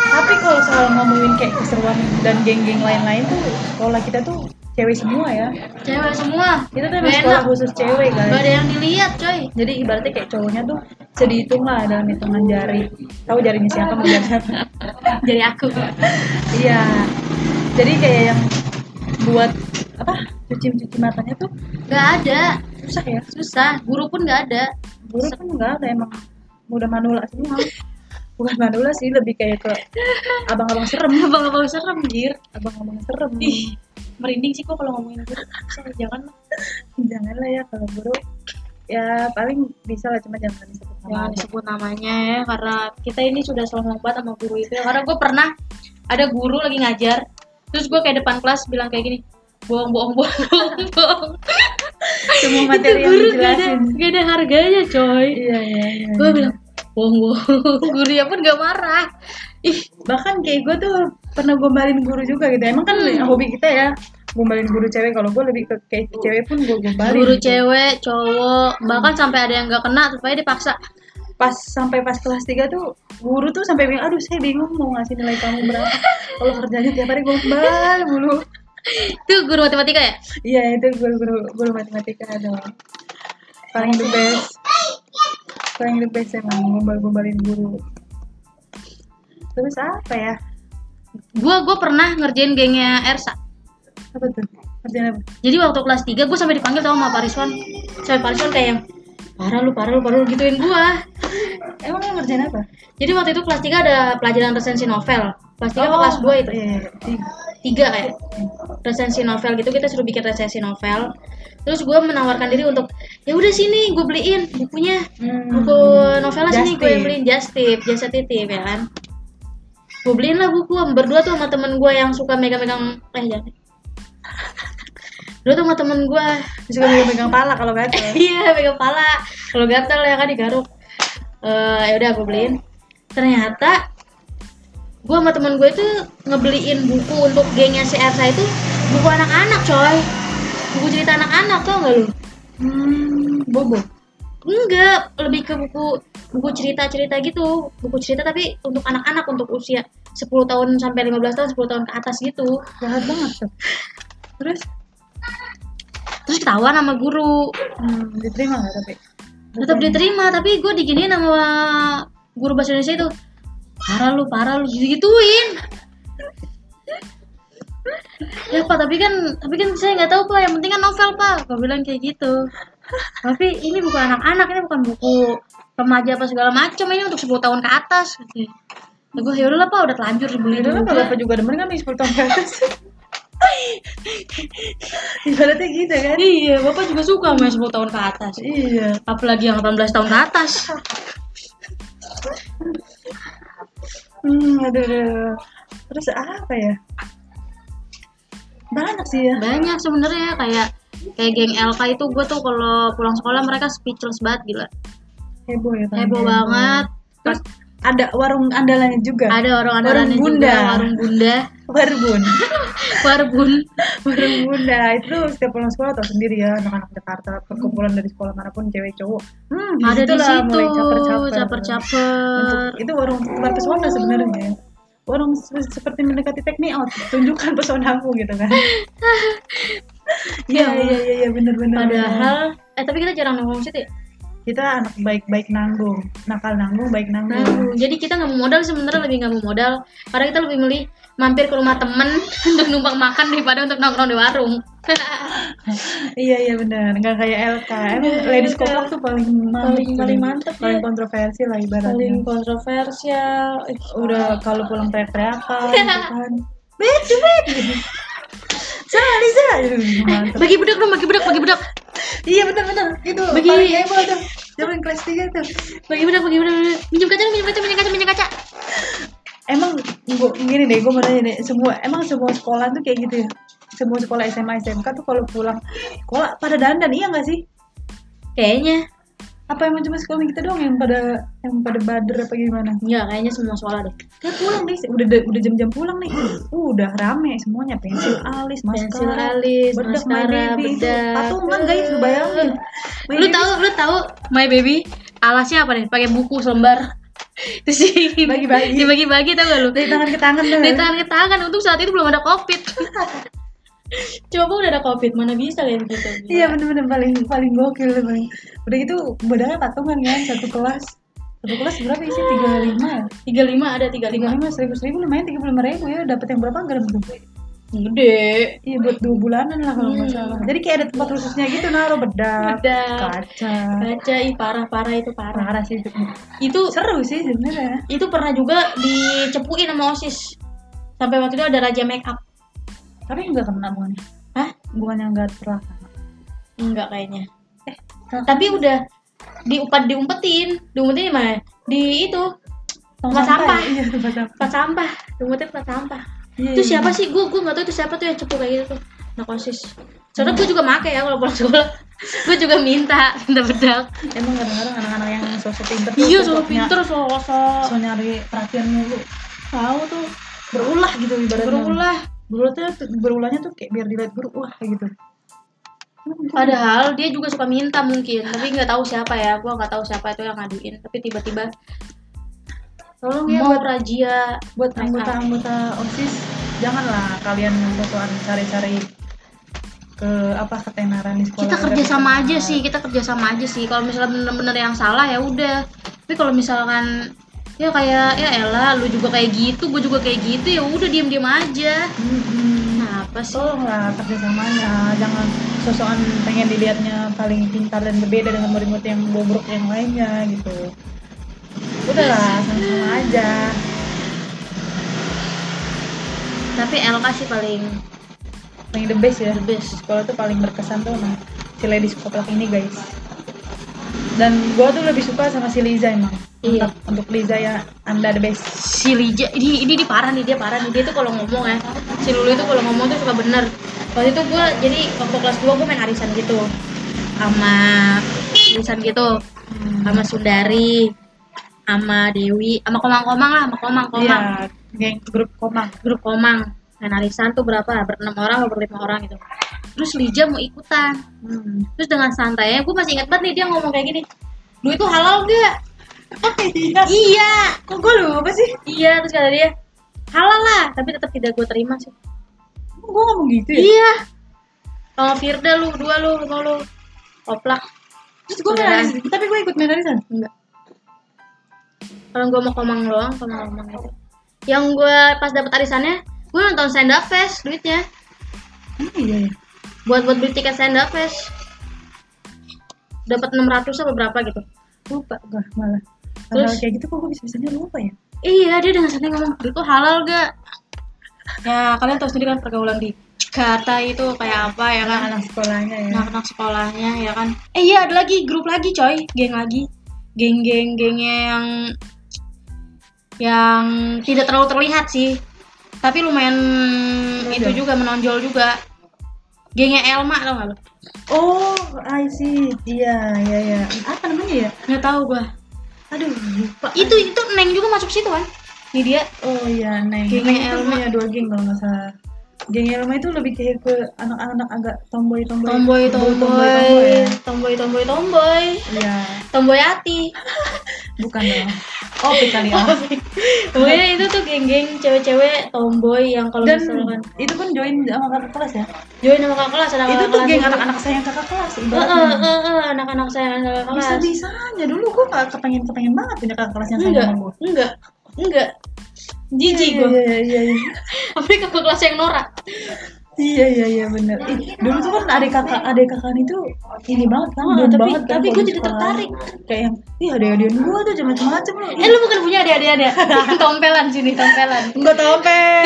[SPEAKER 1] tapi kalau soal ngomongin kayak keseruan dan geng-geng lain-lain tuh sekolah kita tuh cewek semua ya
[SPEAKER 2] cewek semua
[SPEAKER 1] kita tuh
[SPEAKER 2] Gak
[SPEAKER 1] emang sekolah
[SPEAKER 2] enak
[SPEAKER 1] khusus cewek
[SPEAKER 2] gak
[SPEAKER 1] guys
[SPEAKER 2] ada yang dilihat coy
[SPEAKER 1] jadi ibaratnya kayak cowoknya tuh bisa dihitung lah dalam hitungan jari tahu jarinya siapa mau jari siapa
[SPEAKER 2] Jadi aku.
[SPEAKER 1] iya jadi kayak yang buat apa cuci cuci matanya tuh
[SPEAKER 2] Gak ada.
[SPEAKER 1] susah ya
[SPEAKER 2] Susah. Guru pun gak ada.
[SPEAKER 1] buruk kan enggak ada emang udah manula semua bukan manula sih lebih kayak ke abang-abang serem
[SPEAKER 2] Abang-abang serem, jir.
[SPEAKER 1] abang-abang serem
[SPEAKER 2] Ih, merinding sih gua kalau ngomongin guru. Sorry, jangan lah.
[SPEAKER 1] janganlah ya kalau buruk ya paling bisa lah cuma jangan disebut
[SPEAKER 2] Jangan
[SPEAKER 1] nama aja.
[SPEAKER 2] disebut namanya ya, karena kita ini sudah sombong banget sama guru itu. ya. Karena gue pernah ada guru lagi ngajar, terus gue kayak depan kelas bilang kayak gini, bohong, bohong, bohong, bohong, bohong.
[SPEAKER 1] semua
[SPEAKER 2] Itu
[SPEAKER 1] materi yang
[SPEAKER 2] guru gak ada,
[SPEAKER 1] dijelasin
[SPEAKER 2] gak ada harganya, coy.
[SPEAKER 1] iya iya iya
[SPEAKER 2] Gue bilang, bohong, bohong. Gurunya pun gak marah. Ih,
[SPEAKER 1] bahkan kayak gue tuh pernah gombalin guru juga gitu emang kan
[SPEAKER 2] Hmm.
[SPEAKER 1] hobi kita ya gombalin guru cewek kalau gue lebih ke kayak cewek pun gue gombalin
[SPEAKER 2] guru cewek, cowok, bahkan sampai ada yang gak kena, supaya dipaksa.
[SPEAKER 1] pas sampai pas kelas 3 tuh guru tuh sampai bilang aduh saya bingung mau ngasih nilai kamu berapa kalau kerjanya tiap hari gombal mulu
[SPEAKER 2] Itu guru matematika ya?
[SPEAKER 1] iya itu guru guru guru matematika dong paling the best paling the best emang gombal gombalin guru terus apa ya
[SPEAKER 2] Gue gua pernah ngerjain gengnya Ersa.
[SPEAKER 1] apa tuh kerjaan apa
[SPEAKER 2] Jadi waktu kelas 3 gue sampai dipanggil tau sama Pak Rizwan. Sampai Pak Rizwan kayak yang parah lu, parah lu, parah lu gituin gue.
[SPEAKER 1] emang lo ngerjain apa
[SPEAKER 2] Jadi waktu itu kelas 3 ada pelajaran resensi novel. Kelas 3 apa
[SPEAKER 1] Oh,
[SPEAKER 2] kelas 2 itu?
[SPEAKER 1] iya, iya, iya.
[SPEAKER 2] 3 kayak. Resensi novel gitu kita suruh bikin resensi novel. Terus gue menawarkan diri untuk ya udah sini gue beliin bukunya.
[SPEAKER 1] Hmm.
[SPEAKER 2] Buku novelnya sini gue yang
[SPEAKER 1] Justip.
[SPEAKER 2] beliin just tip, jasa titip ya kan. Gue beliin lah buku berdua tuh sama temen gue yang suka megang-megang eh jangan. Berdua tuh sama temen gue
[SPEAKER 1] suka megang-megang pala kalau gitu. gatel
[SPEAKER 2] iya pegang pala kalau gatel ya kan digaruk Eh ya udah aku beliin ternyata gue sama temen gue itu ngebeliin buku untuk gengnya si Ersa itu buku anak-anak coy buku cerita anak-anak tau gak lu
[SPEAKER 1] hmm, bobo
[SPEAKER 2] enggak lebih ke buku buku cerita-cerita gitu buku cerita tapi untuk anak-anak untuk usia 10 tahun sampai 15 tahun 10 tahun ke atas gitu
[SPEAKER 1] jahat banget tuh terus
[SPEAKER 2] terus ketahuan sama guru
[SPEAKER 1] hmm, diterima nggak tapi
[SPEAKER 2] tetap diterima tapi gue diginiin sama guru bahasa Indonesia itu parah lu parah lu gitu gituin ya pak tapi kan tapi kan saya nggak tahu pak yang penting kan novel pak gue bilang kayak gitu tapi ini bukan anak-anak ini bukan buku remaja apa segala macam ini untuk 10 tahun ke atas gitu. Ya gue ya udahlah pak udah telanjur dibeli
[SPEAKER 1] Itu kan
[SPEAKER 2] juga.
[SPEAKER 1] kalau bapak juga demen kan di 10 tahun ke atas. Ibaratnya gitu kan?
[SPEAKER 2] iya bapak juga suka sama yang 10 tahun ke atas
[SPEAKER 1] Iya.
[SPEAKER 2] apalagi yang 18 tahun ke atas
[SPEAKER 1] Hmm, aduh, aduh, aduh. Terus apa ya? Banyak sih ya.
[SPEAKER 2] banyak sebenarnya kayak kayak geng LK itu gue tuh kalau pulang sekolah mereka speechless banget gila
[SPEAKER 1] Heboh ya. Bang.
[SPEAKER 2] heboh banget
[SPEAKER 1] Terus ada warung andalannya juga.
[SPEAKER 2] ada orang andalannya
[SPEAKER 1] Warung
[SPEAKER 2] juga
[SPEAKER 1] bunda.
[SPEAKER 2] warung bunda
[SPEAKER 1] Warbun.
[SPEAKER 2] warbun
[SPEAKER 1] Warung bunda. Itu setiap pulang sekolah tau sendiri ya. Anak-anak Jakarta. Perkumpulan dari sekolah manapun cewek cowok. Hmm,
[SPEAKER 2] ada di
[SPEAKER 1] disitulah
[SPEAKER 2] situ
[SPEAKER 1] mulai caper-caper.
[SPEAKER 2] caper-caper
[SPEAKER 1] Untuk- itu warung tempat pesona sebenarnya warung se- seperti mendekati take me out tunjukkan pesonamu gitu kan iya iya iya iya bener bener
[SPEAKER 2] padahal eh tapi kita jarang nongkrong situ ya
[SPEAKER 1] kita anak baik baik nanggung nakal nanggung baik nanggung
[SPEAKER 2] Nanggung. jadi kita nggak mau modal sebenarnya lebih nggak mau modal karena kita lebih milih mampir ke rumah temen untuk numpang makan daripada untuk nongkrong di warung
[SPEAKER 1] iya iya bener nggak kayak LK emang ladies kompak tuh paling mantep
[SPEAKER 2] Iya, Paling- paling mantep ya.
[SPEAKER 1] paling kontroversi lah ibaratnya
[SPEAKER 2] kontroversial
[SPEAKER 1] udah kalau pulang teriak-teriakan gitu kan
[SPEAKER 2] bet bet
[SPEAKER 1] Zah, Liza Aduh, mantep
[SPEAKER 2] bagi budak dong bagi budak bagi budak
[SPEAKER 1] iya bener bener itu
[SPEAKER 2] Bagi-
[SPEAKER 1] paling heboh tuh zaman kelas 3 tuh
[SPEAKER 2] Bagaimana, bagaimana, bagaimana? Minjem kaca, dong, minjem kaca, minjem kaca, minjem kaca.
[SPEAKER 1] emang gua, gini deh gue mau nanya deh semua emang semua sekolah tuh kayak gitu ya semua sekolah SMA SMK tuh kalau pulang sekolah pada dandan iya nggak sih
[SPEAKER 2] Kayaknya.
[SPEAKER 1] apa emang cuma sekolah kita doang yang pada yang pada bader apa gimana
[SPEAKER 2] Enggak, kayaknya semua sekolah deh.
[SPEAKER 1] kayak pulang nih udah udah jam-jam pulang nih Uh, udah rame semuanya pensil alis maskara
[SPEAKER 2] Pensil alis,
[SPEAKER 1] bedak, my
[SPEAKER 2] maskara,
[SPEAKER 1] baby, itu
[SPEAKER 2] bedak.
[SPEAKER 1] patungan guys lu bayangin My
[SPEAKER 2] lu
[SPEAKER 1] baby
[SPEAKER 2] tahu, lu tahu My Baby alasnya apa deh? Pakai buku selembar. Terus di-
[SPEAKER 1] Bagi-bagi.
[SPEAKER 2] Dibagi-bagi tau gak lu?
[SPEAKER 1] dari tangan ke tangan tuh
[SPEAKER 2] Dari tangan ke tangan. Untung saat itu belum ada Covid. Coba udah ada Covid, mana bisa kayak begitu.
[SPEAKER 1] iya bener-bener paling paling gokil tuh paling udah gitu bedaknya patungan kan satu kelas satu kelas berapa isi tiga lima ya
[SPEAKER 2] 35 ada 35
[SPEAKER 1] tiga lima seribu seribu Iya, lumayan tiga puluh lima ribu ya dapat yang berapa enggak dapat
[SPEAKER 2] Gede.
[SPEAKER 1] iya buat dua bulanan lah kalau nggak
[SPEAKER 2] Hmm.
[SPEAKER 1] salah jadi kayak ada tempat khususnya gitu naruh bedak
[SPEAKER 2] Ada.
[SPEAKER 1] kaca
[SPEAKER 2] Baca ih parah-parah itu parah.
[SPEAKER 1] parah sih itu
[SPEAKER 2] Itu
[SPEAKER 1] seru sih sebenarnya
[SPEAKER 2] itu pernah juga dicepuin sama OSIS. Sampai waktu itu ada raja make up.
[SPEAKER 1] tapi nggak kena bukannya
[SPEAKER 2] Hah?
[SPEAKER 1] bukannya nggak terlaksana
[SPEAKER 2] Enggak kayaknya. Eh, Tapi udah diupat diumpetin. Diumpetin di mana? Di itu Tempat sampah.
[SPEAKER 1] iya tempat sampah
[SPEAKER 2] tempat sampah. Diumpetin tempat sampah.
[SPEAKER 1] Iya,
[SPEAKER 2] Itu
[SPEAKER 1] iya.
[SPEAKER 2] siapa sih? Gue gue nggak tahu itu siapa tuh yang cepu kayak gitu tuh. Anak OSIS. Soalnya gue juga make ya kalau pulang sekolah. gue juga minta minta bedak.
[SPEAKER 1] emang kadang-kadang anak-anak yang sosok pinter tuh
[SPEAKER 2] Iya, soal
[SPEAKER 1] sosoknya-
[SPEAKER 2] pinter, soal soal
[SPEAKER 1] so nyari perhatian mulu tahu tuh berulah gitu ibaratnya
[SPEAKER 2] berulah.
[SPEAKER 1] berulahnya tuh- berulahnya tuh kayak biar dilihat guru wah kayak gitu
[SPEAKER 2] Padahal dia juga suka minta mungkin, tapi nggak tahu siapa ya. Gua nggak tahu siapa itu yang ngaduin, tapi tiba-tiba "Iya,
[SPEAKER 1] tolong ya
[SPEAKER 2] mau
[SPEAKER 1] buat
[SPEAKER 2] razia
[SPEAKER 1] buat
[SPEAKER 2] make up.
[SPEAKER 1] anggota-anggota osis janganlah kalian musuhan cari-cari ke apa ketenaran di sekolah
[SPEAKER 2] Kita kerja sama aja
[SPEAKER 1] Ketenaran.
[SPEAKER 2] sih, kita kerja sama aja sih. Kalau misalnya bener-bener yang salah ya udah. Tapi kalau misalkan ya kayak ya elah lu juga kayak gitu, gue juga kayak gitu ya udah diem-diem aja.
[SPEAKER 1] Mm-mm.
[SPEAKER 2] Kenapa
[SPEAKER 1] Mm-hmm.
[SPEAKER 2] sih?
[SPEAKER 1] tolonglah kerjasamanya jangan sosokan pengen dilihatnya paling pintar dan berbeda dengan murid-murid yang bobrok yang lainnya gitu udahlah sama-sama aja
[SPEAKER 2] Tapi LK sih paling
[SPEAKER 1] paling the best ya
[SPEAKER 2] the best.
[SPEAKER 1] sekolah tuh paling berkesan tuh emang si lady psikolog ini guys dan gua tuh lebih suka sama si Liza emang
[SPEAKER 2] Iya.
[SPEAKER 1] Mantap. untuk Liza ya anda the best
[SPEAKER 2] si Lija ini ini, ini parah nih dia parah nih dia tuh kalau ngomong ya si Lulu itu kalau ngomong tuh suka bener waktu itu gue jadi waktu kelas 2 gue main arisan gitu sama arisan gitu sama Sundari sama Dewi sama komang-komang lah sama komang-komang
[SPEAKER 1] Iya, geng grup komang
[SPEAKER 2] grup komang main arisan tuh berapa berenam orang atau berlima orang gitu terus Lija mau ikutan
[SPEAKER 1] hmm.
[SPEAKER 2] terus dengan santainya gue masih inget banget nih dia ngomong kayak gini duit tuh halal gak
[SPEAKER 1] iya
[SPEAKER 2] iya
[SPEAKER 1] kok gue lupa sih
[SPEAKER 2] Iya, terus kata dia halal lah, tapi tetap tidak gue terima sih.
[SPEAKER 1] gue ngomong gitu ya
[SPEAKER 2] Iya. Sama Firda lu, dua lu, mau lu. Oplak.
[SPEAKER 1] terus gue main arisan tapi gue ikut main arisan
[SPEAKER 2] Enggak. Kalau gue mau komang doang, komang komang itu. Yang gue pas dapet arisannya, gue nonton stand up fest duitnya.
[SPEAKER 1] Hmm, iya ya
[SPEAKER 2] Buat buat beli tiket stand up fest. Dapat 600 apa berapa gitu.
[SPEAKER 1] lupa gue malah
[SPEAKER 2] Terus?
[SPEAKER 1] Terus? kayak gitu kok gue bisa-bisanya lupa ya
[SPEAKER 2] Iya, dia dengan santai ngomong, duit tuh halal gak? Ya, kalian tahu sendiri kan pergaulan di Jakarta itu kayak apa ya kan?
[SPEAKER 1] anak sekolahnya ya
[SPEAKER 2] anak-anak sekolahnya ya kan eh iya ada lagi grup lagi coy geng lagi geng-geng gengnya yang yang tidak terlalu terlihat sih tapi lumayan itu juga menonjol juga gengnya Elma tau gak lo
[SPEAKER 1] oh I see iya iya iya apa namanya ya
[SPEAKER 2] nggak tahu gua
[SPEAKER 1] aduh lupa
[SPEAKER 2] itu itu neng juga masuk situ kan ini dia
[SPEAKER 1] Oh iya, Neng.
[SPEAKER 2] Geng
[SPEAKER 1] Neng itu
[SPEAKER 2] Elma.
[SPEAKER 1] punya dua geng kalau nggak salah. Geng Elma itu lebih kayak ke anak-anak agak tomboy-tomboy.
[SPEAKER 2] tomboy
[SPEAKER 1] Tomboy-tomboy,
[SPEAKER 2] tomboy
[SPEAKER 1] ya.
[SPEAKER 2] tomboy tomboy tomboy
[SPEAKER 1] Iya,
[SPEAKER 2] tomboy hati
[SPEAKER 1] bukan dong. Oh, kali ya.
[SPEAKER 2] pokoknya itu tuh geng-geng cewek-cewek tomboy yang kalau
[SPEAKER 1] Dan
[SPEAKER 2] misalkan
[SPEAKER 1] itu pun join sama kakak kelas ya.
[SPEAKER 2] join sama kakak kelas ada
[SPEAKER 1] itu tuh
[SPEAKER 2] kakak kelas Eh,
[SPEAKER 1] geng
[SPEAKER 2] juga.
[SPEAKER 1] anak-anak saya yang kakak kelas.
[SPEAKER 2] Heeh,
[SPEAKER 1] ibaratnya.
[SPEAKER 2] heeh, heeh, anak-anak saya anak kelas.
[SPEAKER 1] Bisa-bisanya dulu gua nggak kepengen-kepengen banget punya kakak kelas yang sayang
[SPEAKER 2] Enggak,
[SPEAKER 1] sama gua.
[SPEAKER 2] enggak, enggak. Jijik
[SPEAKER 1] Iya,
[SPEAKER 2] gue.
[SPEAKER 1] Iya, iya, iya.
[SPEAKER 2] Apalagi kakak kelas yang norak.
[SPEAKER 1] Iya, iya, iya, bener.
[SPEAKER 2] Nah,
[SPEAKER 1] Ih, dulu tuh kan adik kakak, adik kakak itu ini banget kan,
[SPEAKER 2] Ah,
[SPEAKER 1] down
[SPEAKER 2] tapi-
[SPEAKER 1] banget kan
[SPEAKER 2] tapi
[SPEAKER 1] kalau
[SPEAKER 2] gua
[SPEAKER 1] di
[SPEAKER 2] tidak
[SPEAKER 1] sekolah.
[SPEAKER 2] tertarik.
[SPEAKER 1] Kayak yang, ih adik-adik gua tuh macam-macam loh.
[SPEAKER 2] Eh, lu bukan punya adik-adik ada. tompelan sini, tompelan.
[SPEAKER 1] Enggak tompel.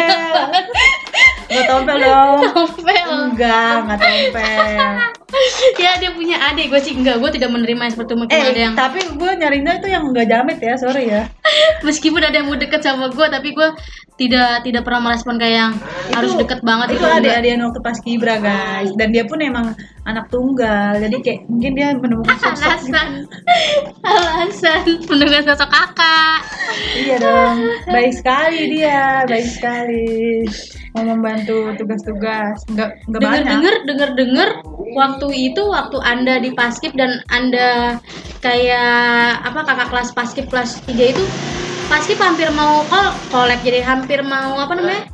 [SPEAKER 1] Enggak tompel dong.
[SPEAKER 2] Tompel.
[SPEAKER 1] Enggak, enggak tompel.
[SPEAKER 2] ya dia punya adik, gue sih enggak, gue tidak menerima seperti mungkin
[SPEAKER 1] Eh,
[SPEAKER 2] ada yang
[SPEAKER 1] tapi gue nyarinya itu yang enggak jamet ya, sorry ya.
[SPEAKER 2] meskipun ada yang mau deket sama gue, tapi gue tidak tidak pernah merespon kayak yang harus deket banget
[SPEAKER 1] itu
[SPEAKER 2] gitu. itu. enggak.
[SPEAKER 1] adik-adik waktu pas kibra guys dan dia pun emang anak tunggal jadi kayak mungkin dia menemukan sosok
[SPEAKER 2] Alasan, alasan mendengar sosok kakak.
[SPEAKER 1] iya dong baik sekali dia baik sekali mau membantu tugas-tugas enggak enggak
[SPEAKER 2] dengar
[SPEAKER 1] banyak
[SPEAKER 2] dengar dengar dengar waktu itu waktu anda di paskib dan anda kayak apa kakak kelas paskib kelas 3 itu paskib hampir mau kol kolab jadi hampir mau apa namanya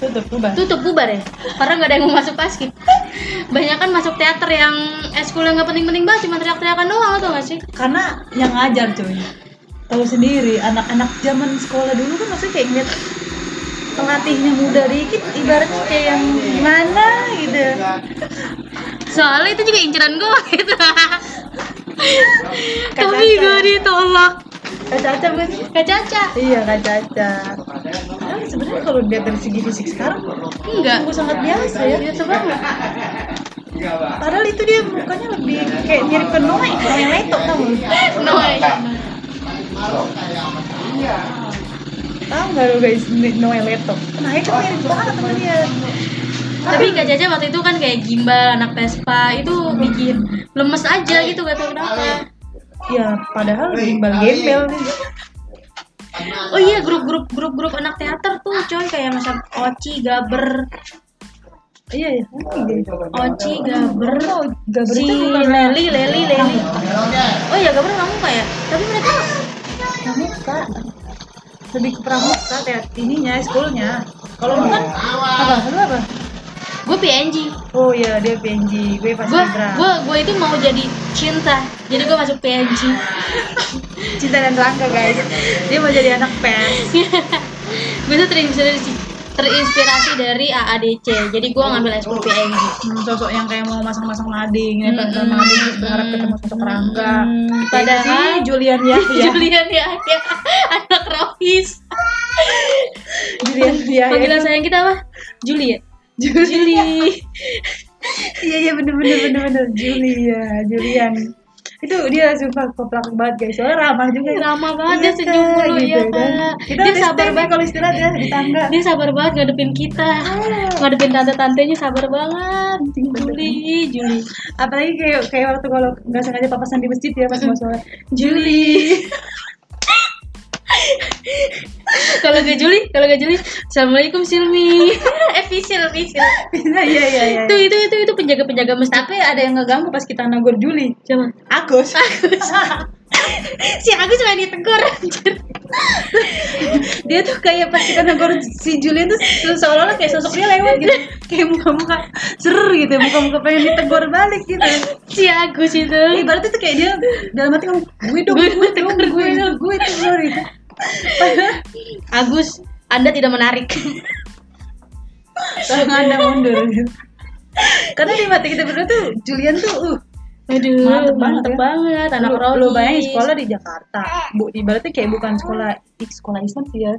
[SPEAKER 1] tutup tuh
[SPEAKER 2] tutup bubar ya karena nggak ada yang mau masuk paskib banyak kan masuk teater yang eskul yang nggak penting-penting banget cuma teriak-teriakan doang atau nggak sih
[SPEAKER 1] karena yang ngajar cuy tahu sendiri anak-anak zaman sekolah dulu kan maksudnya kayak ngeliat pelatihnya muda dikit ibaratnya kayak yang gimana gitu
[SPEAKER 2] Soalnya itu juga inceran gue gitu. Tapi
[SPEAKER 1] Kacau.
[SPEAKER 2] gue ditolak.
[SPEAKER 1] Kak Caca bukan sih?
[SPEAKER 2] Gak caca.
[SPEAKER 1] iya Kak Caca Tapi sebenarnya kalau dilihat dari segi fisik sekarang
[SPEAKER 2] Enggak.
[SPEAKER 1] sungguh sangat biasa ya biasa banget padahal itu dia mukanya lebih kayak mirip ke Noe orang yang leto tau nggak?
[SPEAKER 2] No way.
[SPEAKER 1] tau nggak lo guys Noe leto nah itu mirip banget sama dia
[SPEAKER 2] Tapi Kak Caca waktu itu kan kayak gimbal, anak Vespa itu bikin lemes aja gitu gak tau kenapa.
[SPEAKER 1] ya padahal gimbal gembel
[SPEAKER 2] Oh iya grup-grup grup-grup anak teater tuh coy kayak macam Oci, Gaber,
[SPEAKER 1] iya iya
[SPEAKER 2] Oci, Gaber,
[SPEAKER 1] Gaber
[SPEAKER 2] si
[SPEAKER 1] itu bukan
[SPEAKER 2] Leli, Leli, Leli. Oh iya Gaber kamu kayak. Tapi mereka
[SPEAKER 1] pramuka lebih ke pramuka kayak ininya schoolnya kalau lu kan apa lu apa
[SPEAKER 2] gue PNG.
[SPEAKER 1] oh iya dia PNG gue pas
[SPEAKER 2] Gue
[SPEAKER 1] Citra
[SPEAKER 2] gue gue itu mau jadi cinta. Jadi gue masuk PNG.
[SPEAKER 1] cinta dan rangka guys dia mau jadi anak pers
[SPEAKER 2] gue tuh terinspirasi terinspirasi dari AADC. Jadi gue ngambil ekskul PNG.
[SPEAKER 1] Hmm, sosok yang kayak mau masang-masang nading ya kan
[SPEAKER 2] Mm-mm.
[SPEAKER 1] sama nading terus berharap ketemu sosok rangga
[SPEAKER 2] Hmm,
[SPEAKER 1] Kayak
[SPEAKER 2] padahal-
[SPEAKER 1] si Julian Yahya
[SPEAKER 2] Julian ya, ya anak Rohis.
[SPEAKER 1] Iya, Julian ya. Yahya
[SPEAKER 2] Panggilan sayang kita apa? Juliet. Juliet.
[SPEAKER 1] iya iya bener bener bener bener Julia Julian itu dia sumpah keplak banget guys soalnya ramah juga
[SPEAKER 2] Ramah banget,
[SPEAKER 1] Iya,
[SPEAKER 2] dia senyum
[SPEAKER 1] Kak,
[SPEAKER 2] mulu, iya, Kak.
[SPEAKER 1] kan. kita dia
[SPEAKER 2] Dia sabar
[SPEAKER 1] sabar
[SPEAKER 2] banget.
[SPEAKER 1] kalau istirahat ya di tangga
[SPEAKER 2] Dia sabar banget ngadepin kita. Ngadepin tante-tantenya sabar banget. Juli, Juli.
[SPEAKER 1] apalagi kayak kayak waktu kalau nggak sengaja papasan di masjid ya pas mau sholat Juli
[SPEAKER 2] Kalau gak Juli, kalau gak Juli, Assalamualaikum Silmi. eh Fisil, Fisil.
[SPEAKER 1] iya iya iya iya.
[SPEAKER 2] Itu itu itu itu penjaga-penjaga masjid.
[SPEAKER 1] tapi ada yang ngeganggu pas kita negur Juli
[SPEAKER 2] Siapa?
[SPEAKER 1] Agus
[SPEAKER 2] Si aku cuma ditegur.
[SPEAKER 1] dia tuh kayak pas kita negor si Julian tuh se- seolah-olah kayak sosok dia lewat gitu kayak muka-muka seru gitu muka-muka pengen ditegur balik gitu
[SPEAKER 2] si Agus itu.
[SPEAKER 1] ibaratnya tuh kayak dia dalam hati kamu gue dong
[SPEAKER 2] Gue
[SPEAKER 1] gue dong
[SPEAKER 2] tegur,
[SPEAKER 1] gue
[SPEAKER 2] gue."
[SPEAKER 1] dong gue tegur gitu
[SPEAKER 2] Agus, Anda tidak menarik.
[SPEAKER 1] tangan anda mundur gitu karena di mata kita berdua tuh Julian tuh uh,
[SPEAKER 2] Aduh,
[SPEAKER 1] Mantep
[SPEAKER 2] mantep,
[SPEAKER 1] banget ya.
[SPEAKER 2] banget. Anak
[SPEAKER 1] lu,
[SPEAKER 2] Rohis.
[SPEAKER 1] lu bayangin sekolah di Jakarta bu ibaratnya kayak
[SPEAKER 2] Ah.
[SPEAKER 1] bukan sekolah ih, sekolah Islam sih ya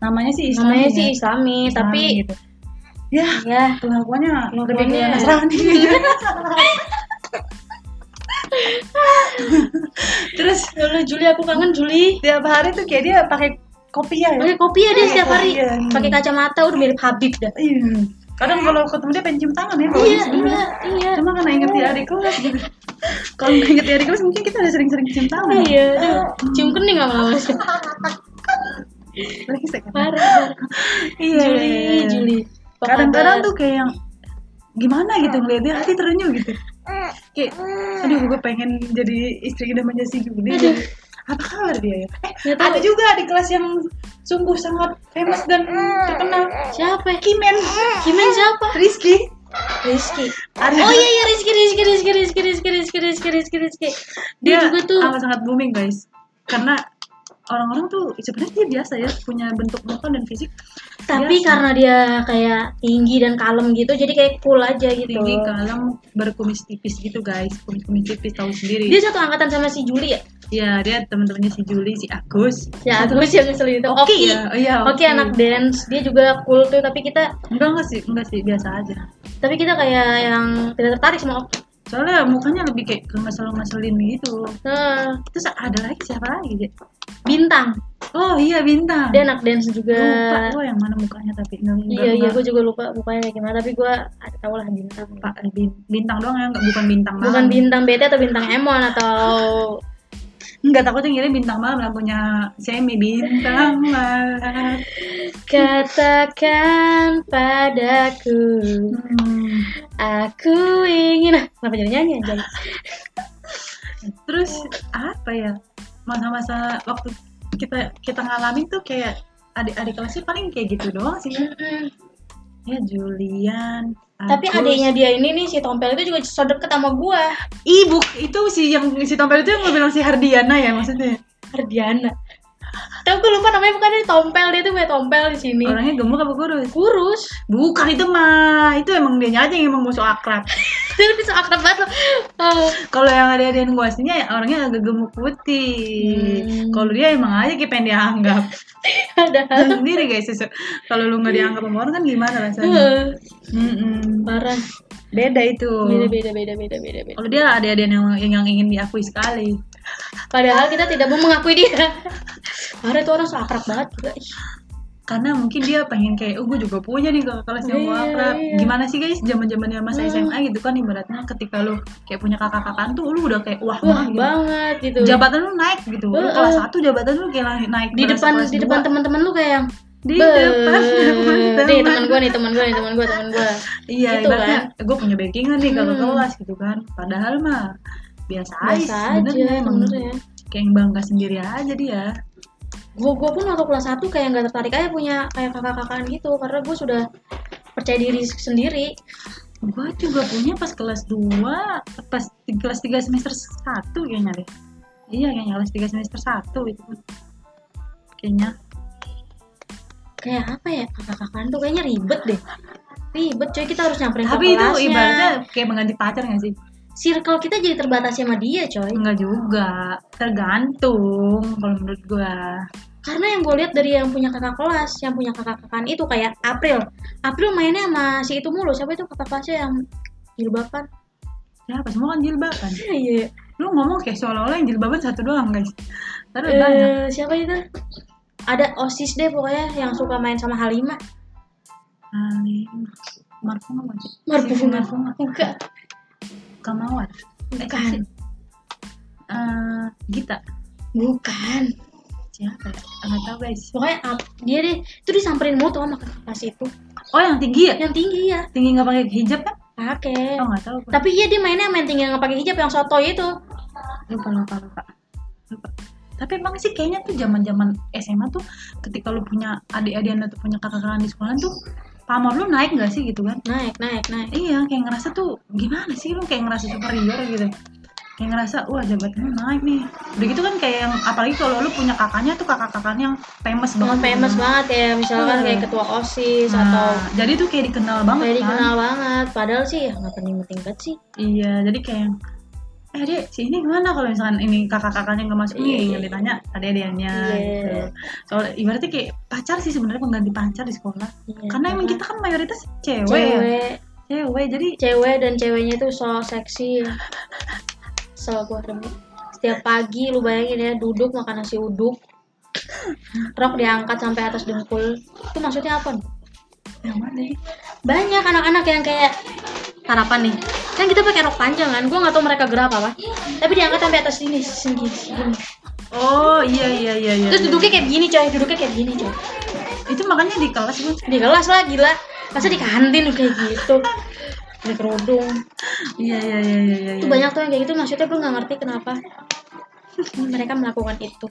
[SPEAKER 1] namanya sih Islam
[SPEAKER 2] namanya
[SPEAKER 1] ya.
[SPEAKER 2] sih Islami,
[SPEAKER 1] Islami
[SPEAKER 2] tapi
[SPEAKER 1] gitu. ya
[SPEAKER 2] ya
[SPEAKER 1] kelakuannya lebih ke
[SPEAKER 2] Kelakuannya.
[SPEAKER 1] Nasrani terus
[SPEAKER 2] ya Allah Juli aku kangen Juli.
[SPEAKER 1] tiap hari tuh kayak dia pakai kopiah ya
[SPEAKER 2] Pakai kopi ya dia setiap hari.
[SPEAKER 1] Iya.
[SPEAKER 2] Pakai kacamata udah mirip Habib dah.
[SPEAKER 1] Iya. kadang kalau ketemu dia pengen cium tangan ya kalau
[SPEAKER 2] Iya,
[SPEAKER 1] dia sebelumnya.
[SPEAKER 2] iya, iya.
[SPEAKER 1] cuma kan karena inget dia adik kelas gitu kalau nggak inget dia adik kelas mungkin kita udah sering-sering cium tangan
[SPEAKER 2] Iya, aduh. cium kening lama-lama.
[SPEAKER 1] lagi sekarang
[SPEAKER 2] Parah.
[SPEAKER 1] iya
[SPEAKER 2] Juli, Juli. Apa
[SPEAKER 1] kadang-kadang
[SPEAKER 2] kabar?
[SPEAKER 1] tuh kayak yang gimana gitu ngeliatnya hati terenyuh gitu kayak aduh gue pengen jadi istri idamannya si Juli apa kabar dia ya eh,
[SPEAKER 2] Nggak tahu.
[SPEAKER 1] ada juga di kelas yang sungguh sangat famous dan terkenal
[SPEAKER 2] siapa? ya?
[SPEAKER 1] Kimen
[SPEAKER 2] Kimen siapa?
[SPEAKER 1] Rizky
[SPEAKER 2] Rizky.
[SPEAKER 1] Ada-
[SPEAKER 2] Oh iya iya Rizky Rizky Rizky Rizky Rizky Rizky Rizky Rizky Rizky.
[SPEAKER 1] Iya,
[SPEAKER 2] Dia juga tuh
[SPEAKER 1] amat sangat booming guys karena orang-orang tuh sebenarnya dia biasa ya punya bentuk muka dan fisik
[SPEAKER 2] tapi
[SPEAKER 1] biasa.
[SPEAKER 2] karena dia kayak tinggi dan kalem gitu jadi kayak cool aja gitu.
[SPEAKER 1] tinggi kan. kalem berkumis tipis gitu guys kumis-kumis tipis tahu sendiri
[SPEAKER 2] Dia satu angkatan sama si Juli ya?
[SPEAKER 1] Iya, dia teman-temannya si Juli, si Agus. Gitu.
[SPEAKER 2] Si Ya, Agus yang ngeselin itu. Oke.
[SPEAKER 1] ya? Oh, iya, Oki.
[SPEAKER 2] Oke anak dance, dia juga cool tuh tapi kita
[SPEAKER 1] Enggak enggak sih, enggak sih, biasa aja.
[SPEAKER 2] tapi kita kayak yang tidak tertarik sama Oki.
[SPEAKER 1] Soalnya mukanya lebih kayak ke ngeselin-ngeselin gitu.
[SPEAKER 2] Eh,
[SPEAKER 1] Terus ada lagi siapa lagi? Dek?
[SPEAKER 2] bintang.
[SPEAKER 1] Oh iya bintang.
[SPEAKER 2] Dia anak dance juga.
[SPEAKER 1] Lupa gue yang mana mukanya tapi enggak enggak,
[SPEAKER 2] Iya iya
[SPEAKER 1] enggak.
[SPEAKER 2] gue juga lupa mukanya kayak gimana tapi gue ada tau lah bintang.
[SPEAKER 1] Pak eh, bin- bintang doang ya, enggak bukan bintang malam.
[SPEAKER 2] Bukan bintang BT atau bintang Emon atau
[SPEAKER 1] Enggak takutnya ngira bintang malam lagunya semi bintang malam.
[SPEAKER 2] katakan padaku
[SPEAKER 1] Hmm.
[SPEAKER 2] aku ingin. Nah, kenapa jadi nyanyi aja?
[SPEAKER 1] terus apa ya masa-masa waktu kita kita ngalamin tuh kayak adik-adik kelasnya paling kayak gitu doang sih ya Julian
[SPEAKER 2] Tapi
[SPEAKER 1] Agus.
[SPEAKER 2] adiknya dia ini nih si Tompel itu juga sodok deket sama gua.
[SPEAKER 1] ibu itu si yang si tampil itu yang lo bilang si Hardiana ya maksudnya
[SPEAKER 2] Ardiana tapi aku lupa namanya bukan dia tompel dia tuh punya tompel di sini
[SPEAKER 1] Orangnya gemuk apa kurus?
[SPEAKER 2] kurus
[SPEAKER 1] Bukan itu mah, itu emang dia aja yang emang musuh akrab.
[SPEAKER 2] dia bisa akrab banget loh. Ah.
[SPEAKER 1] Kalau yang ada yang gue aslinya orangnya agak gemuk putih.
[SPEAKER 2] Hmm.
[SPEAKER 1] Kalau dia emang aja kayak pengen dianggap.
[SPEAKER 2] ada
[SPEAKER 1] Tahu sendiri guys, sesu- kalau lu nggak dianggap sama orang kan gimana rasanya?
[SPEAKER 2] Eh,
[SPEAKER 1] Mm-mm.
[SPEAKER 2] parah
[SPEAKER 1] Beda itu.
[SPEAKER 2] beda beda beda beda beda beda
[SPEAKER 1] Kalau dia ada ada yang yang ingin diakui sekali.
[SPEAKER 2] padahal kita tidak mau mengakui dia parah tuh orang so akrab banget juga Ih,
[SPEAKER 1] Karena mungkin dia pengen kayak, oh gue juga punya nih kakak kelas yang gue
[SPEAKER 2] Iya,
[SPEAKER 1] akrab.
[SPEAKER 2] iya.
[SPEAKER 1] Gimana sih guys, zaman zamannya masa SMA gitu kan ibaratnya ketika lu kayak punya kakak-kakak tuh, lu udah kayak wah, banget
[SPEAKER 2] wah
[SPEAKER 1] gitu.
[SPEAKER 2] banget gitu
[SPEAKER 1] jabatan lu naik gitu lu
[SPEAKER 2] Heeh.
[SPEAKER 1] kelas satu jabatan lu kayak lang- naik
[SPEAKER 2] di
[SPEAKER 1] berasa
[SPEAKER 2] depan
[SPEAKER 1] kelas
[SPEAKER 2] di
[SPEAKER 1] dua.
[SPEAKER 2] depan teman-teman lu kayak yang
[SPEAKER 1] di
[SPEAKER 2] "Be-
[SPEAKER 1] depan
[SPEAKER 2] nih teman gue nih teman gue nih teman gue teman gue
[SPEAKER 1] iya
[SPEAKER 2] gitu
[SPEAKER 1] ibaratnya gue punya backingan nih kalau
[SPEAKER 2] Hmm.
[SPEAKER 1] kelas gitu kan padahal mah biasa,
[SPEAKER 2] biasa aja ya.
[SPEAKER 1] sebenarnya emang
[SPEAKER 2] sebenarnya
[SPEAKER 1] kayak yang bangga sendiri aja dia
[SPEAKER 2] gue gue pun waktu kelas 1 kayak nggak tertarik aja punya kayak kakak-kakaan gitu karena gue sudah percaya diri sendiri
[SPEAKER 1] gue juga punya pas kelas 2 pas di- kelas 3 semester 1 kayaknya deh iya kayaknya kelas 3 semester 1 itu kayaknya
[SPEAKER 2] kayak apa ya kakak-kakaan tuh kayaknya ribet deh ribet coy kita harus nyamperin
[SPEAKER 1] tapi
[SPEAKER 2] ke
[SPEAKER 1] itu
[SPEAKER 2] kelasnya.
[SPEAKER 1] ibaratnya kayak mengganti pacar gak sih
[SPEAKER 2] circle kita jadi terbatas sama dia coy
[SPEAKER 1] Enggak juga, tergantung kalau menurut gua.
[SPEAKER 2] karena yang gue lihat dari yang punya kakak kelas yang punya kakak-kakaan itu kayak April April mainnya sama si itu mulu siapa itu kakak kelasnya yang jilbaban
[SPEAKER 1] Siapa semua kan jilbaban.
[SPEAKER 2] iya iya
[SPEAKER 1] Lu ngomong kayak seolah-olah yang jilbaban satu doang, guys. Terus Ah, banyak.
[SPEAKER 2] Eh, siapa itu ada osis deh pokoknya yang suka main sama Halimah
[SPEAKER 1] Alim. Marfuma masih.
[SPEAKER 2] Marfuma.
[SPEAKER 1] Marfuma.
[SPEAKER 2] enggak
[SPEAKER 1] Kamawan.
[SPEAKER 2] Bukan.
[SPEAKER 1] Eh, Gita.
[SPEAKER 2] bukan
[SPEAKER 1] Siapa ya? Enggak tahu, guys.
[SPEAKER 2] pokoknya ap- dia deh itu disamperin mulu tuh sama kakak kelas itu
[SPEAKER 1] Oh, yang tinggi ya?
[SPEAKER 2] yang tinggi ya
[SPEAKER 1] Tinggi nggak pakai hijab kan?
[SPEAKER 2] pakai
[SPEAKER 1] Oh, enggak tahu. gua.
[SPEAKER 2] tapi iya dia mainnya main tinggi nggak pakai hijab yang soto itu
[SPEAKER 1] lupa lupa lupa lupa tapi emang sih kayaknya tuh zaman zaman SMA tuh ketika lu punya adik-adik atau punya kakak-kakak di sekolah tuh pamor lu naik gak sih gitu kan
[SPEAKER 2] naik naik naik
[SPEAKER 1] iya kayak ngerasa tuh gimana sih lu kayak ngerasa superior gitu kayak ngerasa wah jabatan lu naik nih udah gitu kan kayak yang apalagi kalau lu punya kakaknya tuh kakak-kakaknya yang famous banget
[SPEAKER 2] Emang famous
[SPEAKER 1] gitu.
[SPEAKER 2] banget ya misalkan
[SPEAKER 1] Hmm.
[SPEAKER 2] kayak ketua osis
[SPEAKER 1] Nah,
[SPEAKER 2] atau
[SPEAKER 1] jadi tuh kayak dikenal banget
[SPEAKER 2] kayak
[SPEAKER 1] kan
[SPEAKER 2] dikenal banget padahal sih ya nggak penting penting banget sih
[SPEAKER 1] iya jadi kayak yang, eh dek si ini gimana kalau misalkan ini kakak-kakaknya nggak masuk
[SPEAKER 2] Iya,
[SPEAKER 1] nih
[SPEAKER 2] iya,
[SPEAKER 1] yang ditanya adik-adiknya
[SPEAKER 2] Iya.
[SPEAKER 1] gitu soalnya ibaratnya kayak pacar sih sebenarnya pengganti pacar di sekolah
[SPEAKER 2] Iya,
[SPEAKER 1] karena emang kita kan mayoritas cewek ya
[SPEAKER 2] cewek
[SPEAKER 1] cewek jadi
[SPEAKER 2] cewek dan ceweknya tuh so seksi ya so gua demi setiap pagi lu bayangin ya duduk makan nasi uduk rok diangkat sampai atas dengkul itu maksudnya apa nih?
[SPEAKER 1] yang mana nih?
[SPEAKER 2] banyak anak-anak yang kayak harapan nih kan kita pakai rok panjang kan gua nggak tahu mereka gerak apa tapi diangkat sampai atas sini sini sini
[SPEAKER 1] oh iya iya iya iya
[SPEAKER 2] terus duduknya kayak begini coy duduknya kayak begini coy
[SPEAKER 1] itu makanya di kelas gue
[SPEAKER 2] di kelas lah gila masa di kantin kayak gitu di kerudung
[SPEAKER 1] iya iya iya iya iya
[SPEAKER 2] itu
[SPEAKER 1] iya.
[SPEAKER 2] banyak tuh yang kayak gitu maksudnya gue nggak ngerti kenapa mereka melakukan itu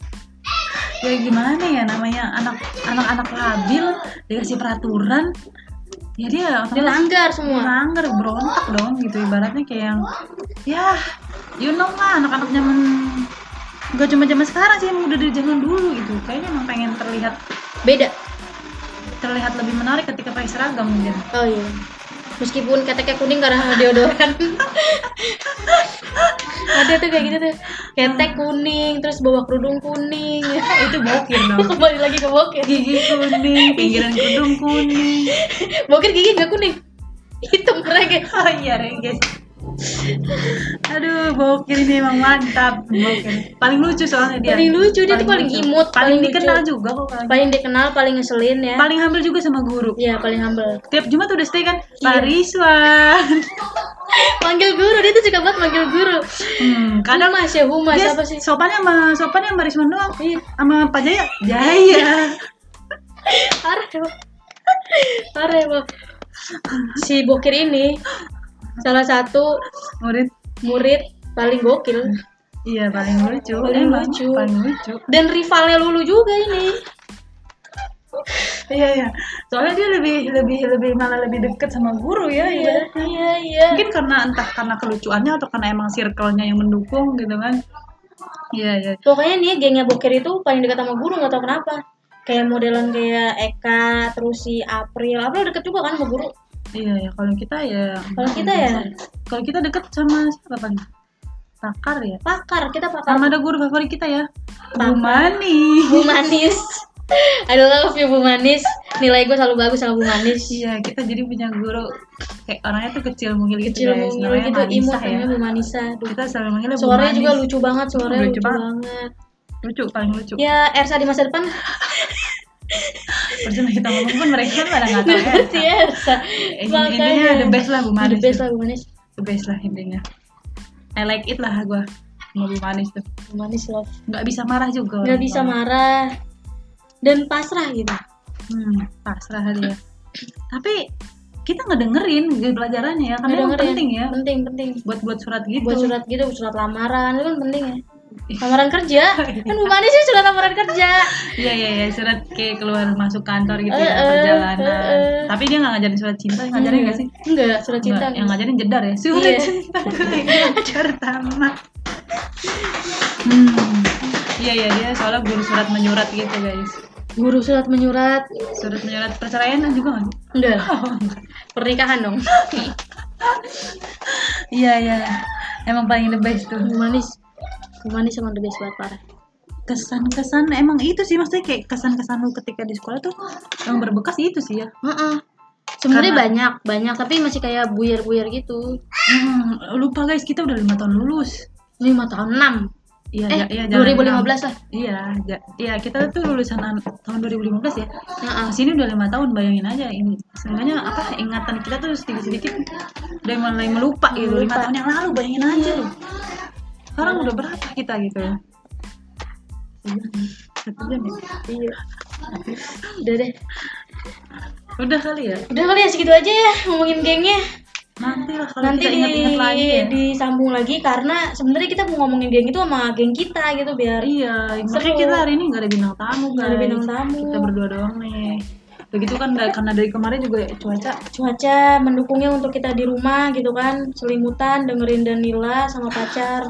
[SPEAKER 1] ya gimana ya namanya anak anak anak labil dikasih peraturan ya dia otomatis
[SPEAKER 2] dilanggar semua
[SPEAKER 1] langgar berontak dong gitu ibaratnya kayak yang ya you know lah anak-anak zaman gak cuma zaman sekarang sih emang udah dari zaman dulu gitu kayaknya emang pengen terlihat
[SPEAKER 2] beda
[SPEAKER 1] terlihat lebih menarik ketika pakai seragam mungkin
[SPEAKER 2] oh iya meskipun keteknya kuning karena deodoran ada tuh kayak gitu tuh ketek kuning terus bawa kerudung kuning
[SPEAKER 1] itu bokir dong
[SPEAKER 2] kembali lagi ke bokir
[SPEAKER 1] gigi kuning pinggiran kerudung kuning
[SPEAKER 2] bokir gigi nggak kuning hitam mereka
[SPEAKER 1] oh iya guys aduh bokir ini emang mantap bokir paling lucu soalnya dia
[SPEAKER 2] Paling lucu, dia tuh paling
[SPEAKER 1] lucu.
[SPEAKER 2] imut,
[SPEAKER 1] paling,
[SPEAKER 2] paling
[SPEAKER 1] dikenal
[SPEAKER 2] lucu.
[SPEAKER 1] juga kok paling,
[SPEAKER 2] paling dikenal paling ngeselin ya
[SPEAKER 1] paling hamil juga sama guru
[SPEAKER 2] Iya paling humble
[SPEAKER 1] tiap Jumat udah stay kan
[SPEAKER 2] Iya.
[SPEAKER 1] Pak Rizwan
[SPEAKER 2] manggil guru dia tuh suka banget manggil guru
[SPEAKER 1] Hmm,
[SPEAKER 2] kadang
[SPEAKER 1] kadang
[SPEAKER 2] mas ya humas
[SPEAKER 1] dia
[SPEAKER 2] apa sih
[SPEAKER 1] sopannya sama sopannya sama Risman doang
[SPEAKER 2] Iya.
[SPEAKER 1] sama Pak Jaya Jaya
[SPEAKER 2] parah emang parah emang si bokir ini salah satu
[SPEAKER 1] murid
[SPEAKER 2] murid paling gokil
[SPEAKER 1] iya paling lucu
[SPEAKER 2] Paling
[SPEAKER 1] emang,
[SPEAKER 2] lucu.
[SPEAKER 1] paling lucu
[SPEAKER 2] dan rivalnya lulu juga ini
[SPEAKER 1] iya iya soalnya dia lebih lebih lebih malah lebih deket sama guru ya ibaratnya.
[SPEAKER 2] iya iya
[SPEAKER 1] mungkin karena entah karena kelucuannya atau karena emang circle-nya yang mendukung gitu kan Iya, iya.
[SPEAKER 2] Pokoknya nih gengnya Boker itu paling dekat sama guru nggak tau kenapa. Kayak modelan kayak Eka, terus si April. April deket juga kan sama guru.
[SPEAKER 1] Iya, ya. Kalau kita ya
[SPEAKER 2] Kalau kita ya
[SPEAKER 1] kalau kita deket sama siapa Pan? Pakar ya.
[SPEAKER 2] pakar, kita pakar.
[SPEAKER 1] Sama ada guru favorit kita ya. Bu Mani.
[SPEAKER 2] Bu Manis. I love you Bu Manis. Nilai gue selalu bagus sama Bu Manis.
[SPEAKER 1] Iya, kita jadi punya guru kayak orangnya tuh kecil mungil gitu
[SPEAKER 2] Kecil
[SPEAKER 1] guys.
[SPEAKER 2] mungil
[SPEAKER 1] Namanya
[SPEAKER 2] gitu, imut
[SPEAKER 1] Manisa ya.
[SPEAKER 2] namanya Bu Manisa. Aduh.
[SPEAKER 1] Kita selalu manggilnya Bu
[SPEAKER 2] Suaranya
[SPEAKER 1] Manis.
[SPEAKER 2] juga lucu banget, suaranya
[SPEAKER 1] Lucu
[SPEAKER 2] lucu,
[SPEAKER 1] banget.
[SPEAKER 2] banget.
[SPEAKER 1] Lucu, paling lucu.
[SPEAKER 2] Ya, Ersa di masa depan
[SPEAKER 1] Percuma kita ngomong pun mereka kan pada nggak tahu ya.
[SPEAKER 2] ngerti ya, Ersa.
[SPEAKER 1] Eh, Intinya the best lah Bu Manis.
[SPEAKER 2] The best lah Bu Manis.
[SPEAKER 1] The best lah intinya. I like it lah gua sama Bu Manis tuh.
[SPEAKER 2] Bu Manis love.
[SPEAKER 1] Nggak bisa marah juga.
[SPEAKER 2] Nggak bisa
[SPEAKER 1] marah.
[SPEAKER 2] marah dan pasrah gitu.
[SPEAKER 1] Hmm, pasrah dia. Tapi kita ngedengerin pelajarannya ya, karena
[SPEAKER 2] Nggak
[SPEAKER 1] emang
[SPEAKER 2] dengerin.
[SPEAKER 1] penting ya.
[SPEAKER 2] Penting, penting.
[SPEAKER 1] Buat buat surat gitu.
[SPEAKER 2] Buat surat gitu, surat lamaran itu kan penting ya. Lamaran kerja. kan Bu Manis sih surat lamaran kerja.
[SPEAKER 1] Iya iya iya surat kayak keluar masuk kantor gitu ya
[SPEAKER 2] Eh, eh,
[SPEAKER 1] perjalanan.
[SPEAKER 2] eh, eh.
[SPEAKER 1] Tapi dia nggak ngajarin surat cinta, yang ngajarin nggak sih?
[SPEAKER 2] Enggak, surat cinta.
[SPEAKER 1] Nggak, yang ngajarin jedar ya. Surat
[SPEAKER 2] Iya.
[SPEAKER 1] cinta jedar tamat. Hmm. Iya iya dia soalnya guru surat menyurat gitu guys.
[SPEAKER 2] Guru surat menyurat.
[SPEAKER 1] Surat menyurat perceraian juga nggak? sih?
[SPEAKER 2] Enggak. lah. Pernikahan dong.
[SPEAKER 1] Iya iya. Emang paling the best tuh.
[SPEAKER 2] Bu Manis. Bu Manis sama the best banget parah.
[SPEAKER 1] Kesan-kesan emang itu sih maksudnya kayak kesan-kesan lu ketika di sekolah tuh yang berbekas itu sih ya.
[SPEAKER 2] Heeh. Sebenarnya
[SPEAKER 1] Karena-
[SPEAKER 2] banyak, banyak tapi masih kayak buyar-buyar gitu.
[SPEAKER 1] Hmm, lupa guys kita udah lima tahun lulus.
[SPEAKER 2] 5 tahun 6.
[SPEAKER 1] Iya,
[SPEAKER 2] Eh,
[SPEAKER 1] ja- iya, jangan
[SPEAKER 2] 2015 lah.
[SPEAKER 1] bilang. Iya, ja- iya kita tuh lulusan an- tahun 2015 ya. Nah,
[SPEAKER 2] Heeh.
[SPEAKER 1] sini udah lima tahun bayangin aja ini. Sebenarnya apa ingatan kita tuh sedikit-sedikit udah mulai melupa gitu. Lima
[SPEAKER 2] Melupa. Iya.
[SPEAKER 1] tahun yang lalu bayangin aja loh. Sekarang udah berapa kita gitu? Satu jam ya?
[SPEAKER 2] Iya. Udah deh.
[SPEAKER 1] Udah kali ya.
[SPEAKER 2] Udah kali ya segitu aja ya ngomongin gengnya.
[SPEAKER 1] Nanti lah kalau
[SPEAKER 2] Nanti
[SPEAKER 1] kita ingat-ingat
[SPEAKER 2] di-
[SPEAKER 1] lagi ya.
[SPEAKER 2] disambung lagi karena sebenarnya kita mau ngomongin geng itu sama geng kita gitu biar
[SPEAKER 1] Iya, makanya
[SPEAKER 2] Seru.
[SPEAKER 1] kita hari ini gak ada bintang tamu guys.
[SPEAKER 2] Nggak ada bintang tamu.
[SPEAKER 1] Kita berdua doang nih. Begitu kan da- karena dari kemarin juga cuaca
[SPEAKER 2] cuaca mendukungnya untuk kita di rumah gitu kan selimutan dengerin Danila sama pacar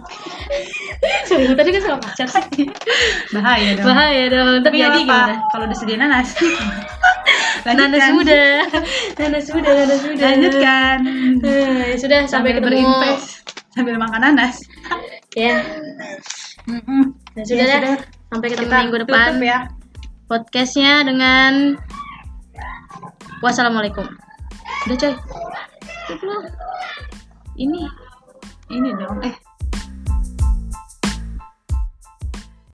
[SPEAKER 2] selimutan juga sama pacar sih
[SPEAKER 1] bahaya dong.
[SPEAKER 2] bahaya dong
[SPEAKER 1] Tapi
[SPEAKER 2] terjadi
[SPEAKER 1] jadi
[SPEAKER 2] gimana
[SPEAKER 1] Kalau disediain nanas.
[SPEAKER 2] Nanda
[SPEAKER 1] Lanjutkan.
[SPEAKER 2] sudah Nanda sudah Nanda sudah
[SPEAKER 1] Lanjutkan.
[SPEAKER 2] Eh, sudah
[SPEAKER 1] Sambil
[SPEAKER 2] sampai ketemu
[SPEAKER 1] berinvest sambil makan nanas.
[SPEAKER 2] ya
[SPEAKER 1] Mm-mm.
[SPEAKER 2] dan sudah
[SPEAKER 1] Ya,
[SPEAKER 2] dah.
[SPEAKER 1] sudah.
[SPEAKER 2] sampai ketemu
[SPEAKER 1] Kita
[SPEAKER 2] minggu depan
[SPEAKER 1] tutup ya.
[SPEAKER 2] podcastnya dengan wassalamualaikum udah coy Tutup lu. ini
[SPEAKER 1] Ini dong. Eh,